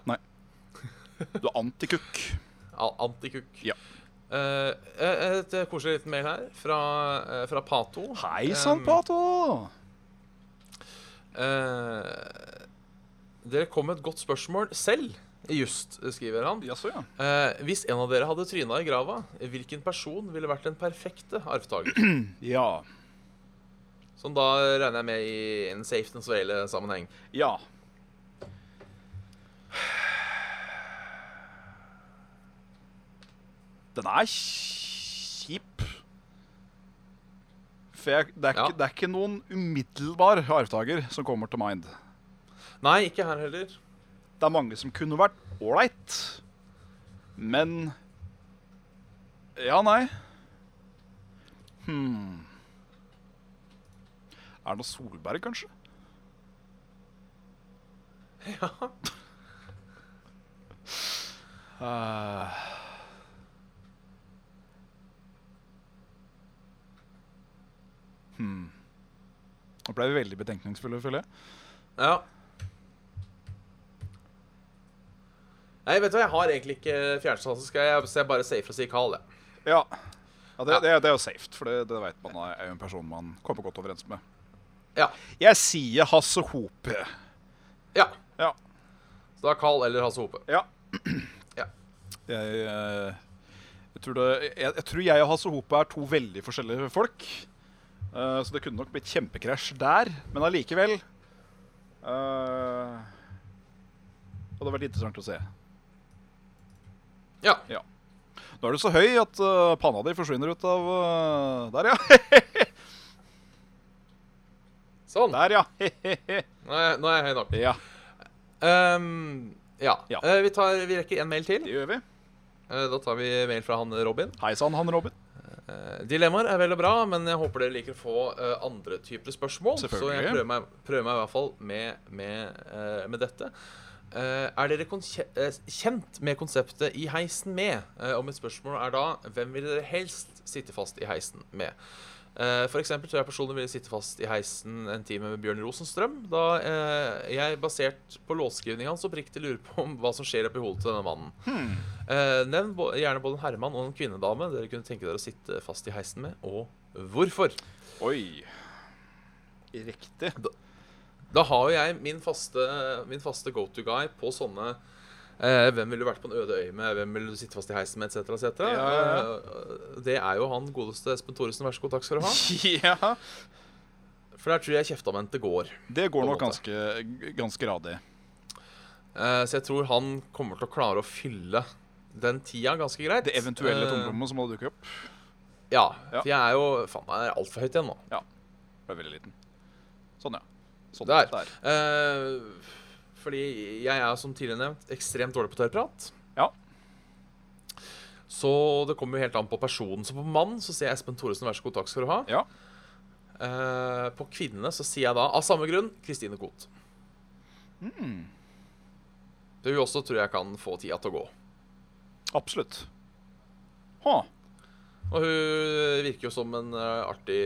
Speaker 2: Nei.
Speaker 3: Du er antikukk.
Speaker 2: a- Antikukk.
Speaker 3: Ja.
Speaker 2: Eh, eh, et eh, koselig liten mail her fra, eh, fra Pato.
Speaker 3: Hei sann,
Speaker 2: Ehm,
Speaker 3: Pato!
Speaker 2: Eh, dere kom med et godt spørsmål selv, just, skriver han.
Speaker 3: Jaså, ja.
Speaker 2: Eh, hvis en av dere hadde tryna i grava, hvilken person ville vært den perfekte arvtaker?
Speaker 3: Ja.
Speaker 2: Som da regner jeg med i en safe and svele-sammenheng.
Speaker 3: Ja. Den er kjip. For jeg, det, er
Speaker 2: Ja.
Speaker 3: ikke, det er ikke noen umiddelbar arvtaker som kommer til mind.
Speaker 2: Nei, ikke her heller.
Speaker 3: Det er mange som kunne vært ålreit, men Ja, nei. Hmm. Erna Solberg, kanskje?
Speaker 2: Ja.
Speaker 3: Eh, Hmm. Nå ble vi veldig betenkningsfulle, føler jeg.
Speaker 2: ja. Nei, vet du hva, jeg har egentlig ikke fjernsyn, så skal jeg, så jeg bare safer og si Carl, jeg.
Speaker 3: Ja, ja, det,
Speaker 2: Ja.
Speaker 3: Det, det er jo safe, for det, det vet man er jo en person man kommer godt overens med.
Speaker 2: Ja.
Speaker 3: Jeg sier Hasse Hope.
Speaker 2: ja.
Speaker 3: Ja.
Speaker 2: Så da Carl eller Hasse Hope.
Speaker 3: Ja.
Speaker 2: Ja.
Speaker 3: Jeg, eh, jeg, tror det, jeg, jeg tror jeg og Hasse Hope er to veldig forskjellige folk. Eh, så det kunne nok blitt kjempekrasj der, men allikevel eh, Det hadde vært interessant å se.
Speaker 2: Ja.
Speaker 3: Nå er du så høy at eh, panna di forsvinner ut av eh, Der, ja.
Speaker 2: Sånn.
Speaker 3: Der, ja.
Speaker 2: Nå er jeg, nå er jeg høy nok.
Speaker 3: ja.
Speaker 2: Ehm, ja.
Speaker 3: Ja.
Speaker 2: Eh, vi, tar, vi rekker en mail til.
Speaker 3: Det gjør vi.
Speaker 2: Eh, da tar vi mail fra han Robin.
Speaker 3: Hei sann, han Robin.
Speaker 2: Eh, dilemmaer er vel og bra, men jeg håper dere liker å få eh, andre typer spørsmål. Så
Speaker 3: Selvfølgelig.
Speaker 2: jeg prøver meg, prøver meg i hvert fall med, med, eh, med dette. Eh, er dere kon- kje- eh, kjent med konseptet I heisen med? Eh, og mitt spørsmål er da hvem ville dere helst sitte fast i heisen med? Eh, for eksempel tror jeg personlig ville sitte fast i heisen en time med Bjørn Rosenstrøm, da eh, jeg basert på låtskrivningen hans oppriktig lurer på om hva som skjer oppi hodet til denne mannen. Eh, nevn bo- gjerne både en herremann og en kvinnedame dere kunne tenke dere å sitte fast i heisen med, og hvorfor?
Speaker 3: Oi. Riktig.
Speaker 2: Da har jo jeg min faste, min faste go-to-guy på sånne eh, Hvem ville du vært på en øde øy med, hvem ville du sitte fast i heisen med, etc., etc.
Speaker 3: Ja, ja, ja.
Speaker 2: Eh, det er jo han godeste Espen Thoresen, vær så god, takk skal du ha.
Speaker 3: ja.
Speaker 2: For der tror jeg kjeftamentet går.
Speaker 3: Det går
Speaker 2: På en
Speaker 3: nok
Speaker 2: måte.
Speaker 3: ganske, ganske radig.
Speaker 2: Eh, så jeg tror han kommer til å klare å fylle den tida ganske greit.
Speaker 3: Det eventuelle
Speaker 2: Eh,
Speaker 3: tomrommet som hadde dukket opp,
Speaker 2: Ja.
Speaker 3: Ja.
Speaker 2: For jeg er jo faen meg altfor høyt igjen nå.
Speaker 3: ble veldig liten. Sånn, ja. Sånn,
Speaker 2: Der. Eh, fordi jeg er, som tidligere nevnt, ekstremt dårlig på tørrprat.
Speaker 3: Ja.
Speaker 2: Så det kommer jo helt an på personen. Så på mann så sier jeg Espen Thoresen, vær så god, takk skal du ha.
Speaker 3: Ja.
Speaker 2: Eh, på kvinnene så sier jeg da, av samme grunn, Kristine Koht.
Speaker 3: Mm,
Speaker 2: Det vil også tror jeg kan få tida til å gå.
Speaker 3: absolutt. Ha.
Speaker 2: Og hun virker jo som en eh, artig,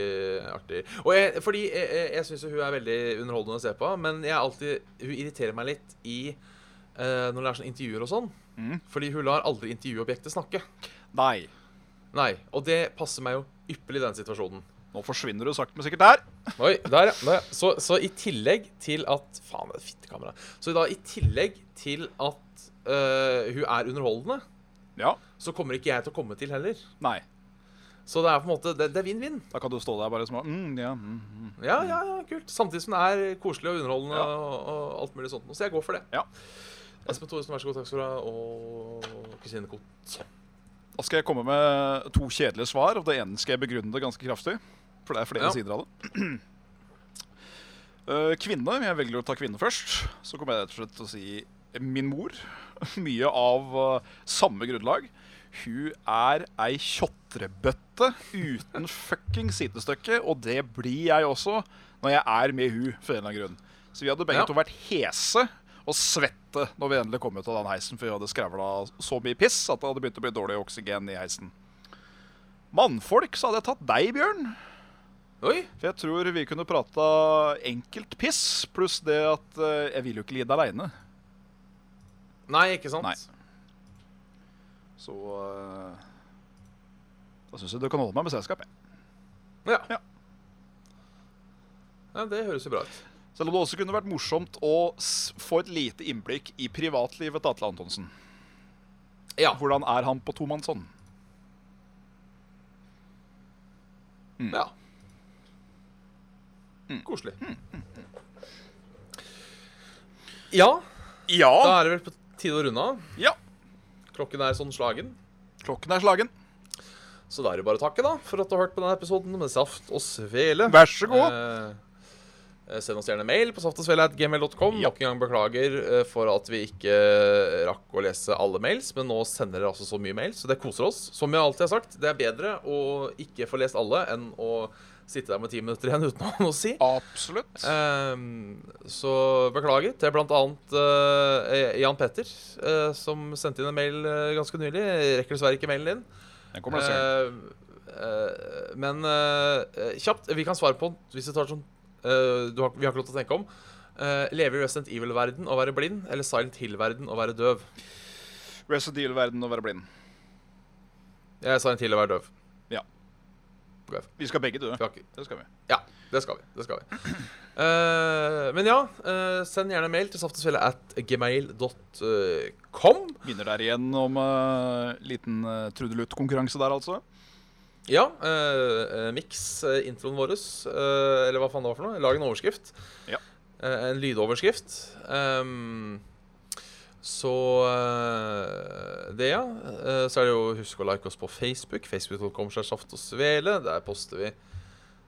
Speaker 2: artig Og jeg, Fordi jeg, jeg, jeg syns hun er veldig underholdende å se på, men jeg er alltid, hun irriterer meg litt i eh, når det er sånne intervjuer og sånn.
Speaker 3: Mm.
Speaker 2: Fordi hun lar aldri intervjuobjektet snakke.
Speaker 3: Nei.
Speaker 2: Nei, og det passer meg jo ypperlig i den situasjonen.
Speaker 3: Nå forsvinner du sakte, men sikkert der.
Speaker 2: Oi, der, ja. Der, ja. Så, så i tillegg til at Faen, det er fittekamera. Så da, i tillegg til at øh, hun er underholdende,
Speaker 3: Ja.
Speaker 2: så kommer ikke jeg til å komme til heller.
Speaker 3: Nei.
Speaker 2: Så det er på en måte, det, det er vinn-vinn.
Speaker 3: Da kan du stå der bare som mm, ja, mm, mm.
Speaker 2: Ja, ja, ja, kult. Samtidig som det er koselig og underholdende
Speaker 3: Ja.
Speaker 2: og, og alt mulig sånt. Så jeg går for det.
Speaker 3: Ja.
Speaker 2: Espen Thoresen, vær så god. Takk skal du ha. Og Kristine Koht.
Speaker 3: Da skal jeg komme med to kjedelige svar, og det ene skal jeg begrunne det ganske kraftig. For det er flere
Speaker 2: Ja.
Speaker 3: sider av det. Eh, Kvinne. Jeg velger å ta kvinne først. Så kommer jeg rett og slett til å si eh, min mor. Mye av eh, samme grunnlag. Hun er ei tjotrebøtte uten fucking sidestykke, og det blir jeg også når jeg er med hun, for en eller annen grunn. Så vi hadde begge
Speaker 2: Ja.
Speaker 3: to vært hese og svette når vi endelig kom ut av den heisen, for vi hadde skravla så mye piss at det hadde begynt å bli dårlig oksygen i heisen. Mannfolk, så hadde jeg tatt deg, Bjørn.
Speaker 2: Oi!
Speaker 3: For jeg tror vi kunne prata enkelt piss, pluss det at eh, jeg vil jo ikke lide aleine.
Speaker 2: Nei, ikke sant?
Speaker 3: Nei. Så eh, da syns jeg du kan holde meg med selskap. jeg.
Speaker 2: Ja.
Speaker 3: Ja.
Speaker 2: Ja, Det høres jo bra ut.
Speaker 3: Selv om det også kunne vært morsomt å s få et lite innblikk i privatlivet til Atle Antonsen.
Speaker 2: Ja.
Speaker 3: Hvordan er han på tomannshånd? Mm.
Speaker 2: ja. Koselig.
Speaker 3: Mm,
Speaker 2: Ja, da
Speaker 3: Ja.
Speaker 2: er det vel på tide å runde av.
Speaker 3: ja!
Speaker 2: Klokken er sånn slagen.
Speaker 3: Klokken er slagen.
Speaker 2: Så da er det bare å takke da, for at du har hørt på denne episoden med Saft og Svele.
Speaker 3: Vær så god.
Speaker 2: Eh, eh, send oss gjerne mail på saftogsvele.gmail.com.
Speaker 3: Ja.
Speaker 2: Nok en gang beklager eh, for at vi ikke eh, rakk å lese alle mails, men nå sender dere altså så mye mail, så det koser oss. Som jeg alltid har sagt, det er bedre å ikke få lest alle enn å sitte der med ti minutter igjen uten å ha noe å si.
Speaker 3: Absolutt.
Speaker 2: Ehm, så beklager til blant annet eh, Jan Petter, eh, som sendte inn en mail eh, ganske nylig. Jeg Rekker dessverre ikke mailen din.
Speaker 3: Den kommer det selv.
Speaker 2: Eh, eh, men eh, kjapt, vi kan svare på den hvis vi tar sånn eh, du har, Vi har ikke lov til å tenke om. Eh, leve i Resident Evil-verden og være blind, eller Silent Hill-verden og være døv?
Speaker 3: Rest of deal-verden å være blind.
Speaker 2: Jeg er Silent Hill og være døv.
Speaker 3: Vi skal begge dø.
Speaker 2: Vi har ikke,
Speaker 3: Det skal vi.
Speaker 2: ja, det skal vi. Det skal vi. Eh, men ja, eh, send gjerne mail til saftesfjellet at eh, gmail.com.
Speaker 3: Minner der igjen om eh, liten eh, trudelutt-konkurranse der, altså.
Speaker 2: Ja, uh, miks eh, introen vår, eh, eller hva faen det var for noe. Lag en overskrift.
Speaker 3: Ja.
Speaker 2: Eh, en lydoverskrift. Ehm, så eh, det, ja. Eh, så er det jo husk å like oss på Facebook. Facebook.com slash saft og svele. Der poster vi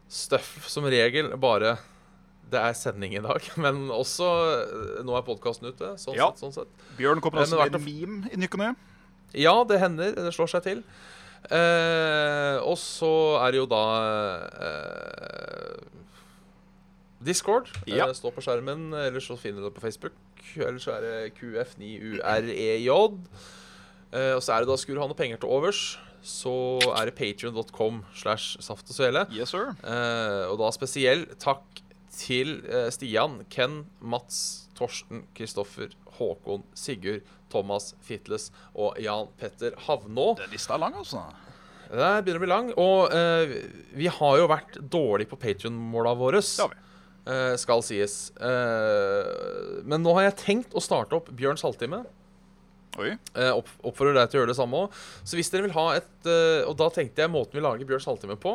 Speaker 2: stuff som regel bare det er sending i dag, men også eh, Nå er podkasten ute. Sånn
Speaker 3: Ja.
Speaker 2: sett, sånn sett.
Speaker 3: Bjørn kommer
Speaker 2: Eh, men
Speaker 3: også med
Speaker 2: hvert
Speaker 3: en meme i ny og ne.
Speaker 2: Ja, det hender. Det slår seg til. Eh, og så er det jo da eh, Discord. Eh,
Speaker 3: Ja.
Speaker 2: Stå på skjermen, eller så finner du det på Facebook. Eller så er det QF9UREJ. E Eh, og så er det da skulle du ha noe penger til overs, så er det patrion.com slash saft og svele.
Speaker 3: Yes, sir.
Speaker 2: Eh, og da spesiell takk til eh, Stian, Ken, Mats, Torsten, Kristoffer, Håkon, Sigurd, Thomas, Fitles og Jan Petter Havnå.
Speaker 3: Den lista er lang, altså.
Speaker 2: Det her begynner å bli lang. Og eh, vi har jo vært dårlige på Patrion-måla våre.
Speaker 3: Det har vi.
Speaker 2: eh, skal sies. Eh, men nå har jeg tenkt å starte opp Bjørns halvtime.
Speaker 3: Oi.
Speaker 2: Eh, opp, oppfordrer deg til å gjøre det samme òg. Så hvis dere vil ha et eh, Og da tenkte jeg måten vi lager Bjørns halvtime på,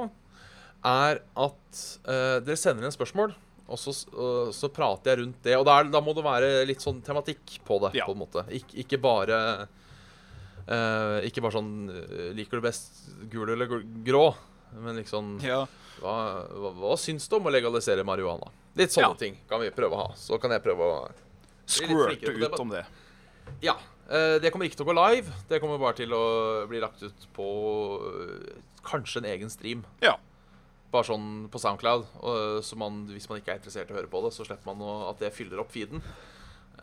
Speaker 2: er at eh, dere sender inn spørsmål, og så, s- og så prater jeg rundt det. Og da, er, da må det være litt sånn tematikk på det,
Speaker 3: Ja.
Speaker 2: på en måte. Ik ikke bare eh, Ikke bare sånn eh, Liker du best gul eller gr- grå? Men liksom
Speaker 3: Ja.
Speaker 2: hva, hva, hva syns du om å legalisere marihuana? Litt sånne
Speaker 3: Ja.
Speaker 2: ting kan vi prøve å ha. Så kan jeg prøve å litt
Speaker 3: Squirte
Speaker 2: flinkere på det,
Speaker 3: ut om det.
Speaker 2: ja. eh, Det kommer ikke til å gå live. Det kommer bare til å bli lagt ut på eh, kanskje en egen stream.
Speaker 3: Ja.
Speaker 2: Bare sånn på SoundCloud. og, eh, Så man, hvis man ikke er interessert i å høre på det, så slipper man å- at det fyller opp feeden.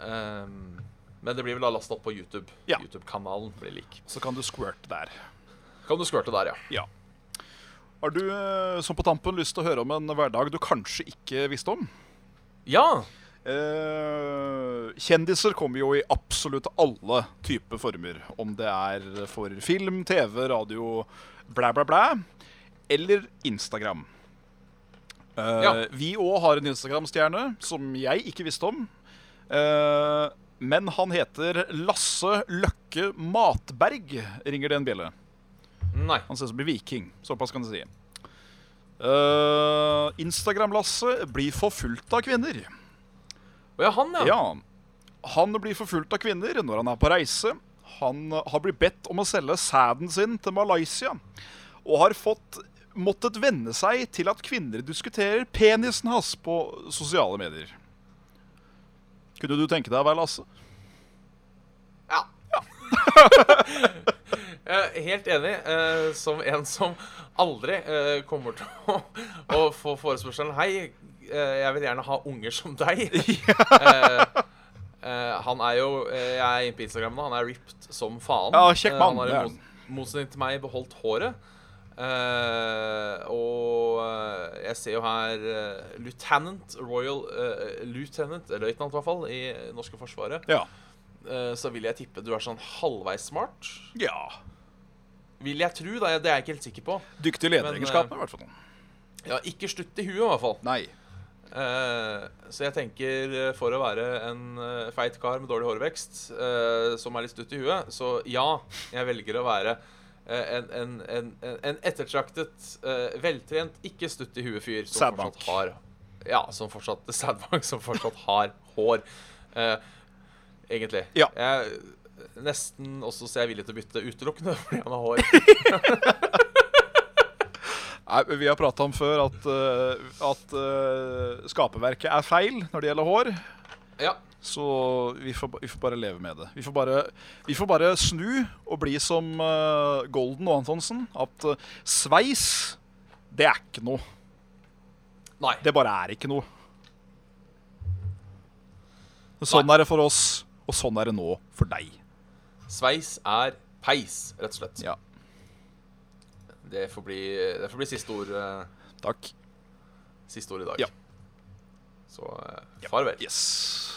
Speaker 2: Ehm, men det blir vel da lasta opp på YouTube.
Speaker 3: Ja.
Speaker 2: YouTube-kanalen blir lik.
Speaker 3: Så kan du squirte der.
Speaker 2: Kan du squirte der, ja.
Speaker 3: Ja. Har du eh, som på tampen lyst til å høre om en hverdag du kanskje ikke visste om?
Speaker 2: Ja!
Speaker 3: Eh, kjendiser kommer jo i absolutt alle typer former. Om det er for film, TV, radio, blæ, blæ, blæ. Eller Instagram. Eh,
Speaker 2: Ja.
Speaker 3: Vi òg har en Instagram-stjerne som jeg ikke visste om. Eh, men han heter Lasse Løkke Matberg, ringer det en bjelle.
Speaker 2: Nei.
Speaker 3: Han ser ut som en viking. Såpass kan du si. Eh, Instagram-Lasse blir forfulgt av kvinner.
Speaker 2: Å ja, han, ja.
Speaker 3: Ja. Han blir forfulgt av kvinner når han er på reise. Han har blitt bedt om å selge sæden sin til Malaysia, og har fått måttet venne seg til at kvinner diskuterer penisen hans på sosiale medier. Kunne du tenke deg å være Lasse?
Speaker 2: Ja. Jeg er Helt enig. eh, Som en som aldri eh, kommer til å, å få forespørselen Hei, eh, jeg vil gjerne ha unger som deg. Eh, eh, han er jo eh, Jeg er inne på Instagram nå. Han er ripped som faen.
Speaker 3: Ja, kjekk
Speaker 2: Eh,
Speaker 3: mann,
Speaker 2: Han har
Speaker 3: det er
Speaker 2: i mot- motsetning til meg beholdt håret. Eh, og eh, jeg ser jo her eh, Lieutenant Royal eh, Lieutenant, eller løytnant i hvert fall, i det norske forsvaret.
Speaker 3: Ja.
Speaker 2: Eh, så vil jeg tippe du er sånn halvveis smart.
Speaker 3: ja.
Speaker 2: Vil jeg tro, da. Det er jeg ikke helt sikker på.
Speaker 3: Dyktig lederegenskap, i hvert fall.
Speaker 2: Ja, ikke slutt i huet, i hvert fall.
Speaker 3: Nei.
Speaker 2: Eh, så jeg tenker, eh, for å være en eh, feit kar med dårlig hårvekst, eh, som er litt stutt i huet, så ja, jeg velger å være eh, en, en, en, en- en ettertraktet, eh, veltrent, ikke stutt i huet-fyr som
Speaker 3: Sædbank.
Speaker 2: fortsatt har Ja, som fortsatt sædbank, som fortsatt har hår. Eh, egentlig.
Speaker 3: Ja.
Speaker 2: Jeg, nesten også så jeg er villig til å bytte utelukkende fordi han har hår.
Speaker 3: Nei, men Vi har prata om før at, eh, at eh, skaperverket er feil når det gjelder hår.
Speaker 2: Ja.
Speaker 3: Så vi får, ba- vi får bare leve med det. Vi får bare, vi får bare snu og bli som eh, Golden og Antonsen. At eh, sveis, det er ikke noe.
Speaker 2: Nei.
Speaker 3: Det bare er ikke noe. Sånn er det for oss, og sånn er det nå for deg.
Speaker 2: Sveis er peis, rett og slett.
Speaker 3: Ja,
Speaker 2: Det får bli, det får bli siste, ord, eh,
Speaker 3: takk.
Speaker 2: siste ord i dag.
Speaker 3: Ja.
Speaker 2: Så eh, farvel.
Speaker 3: Yes.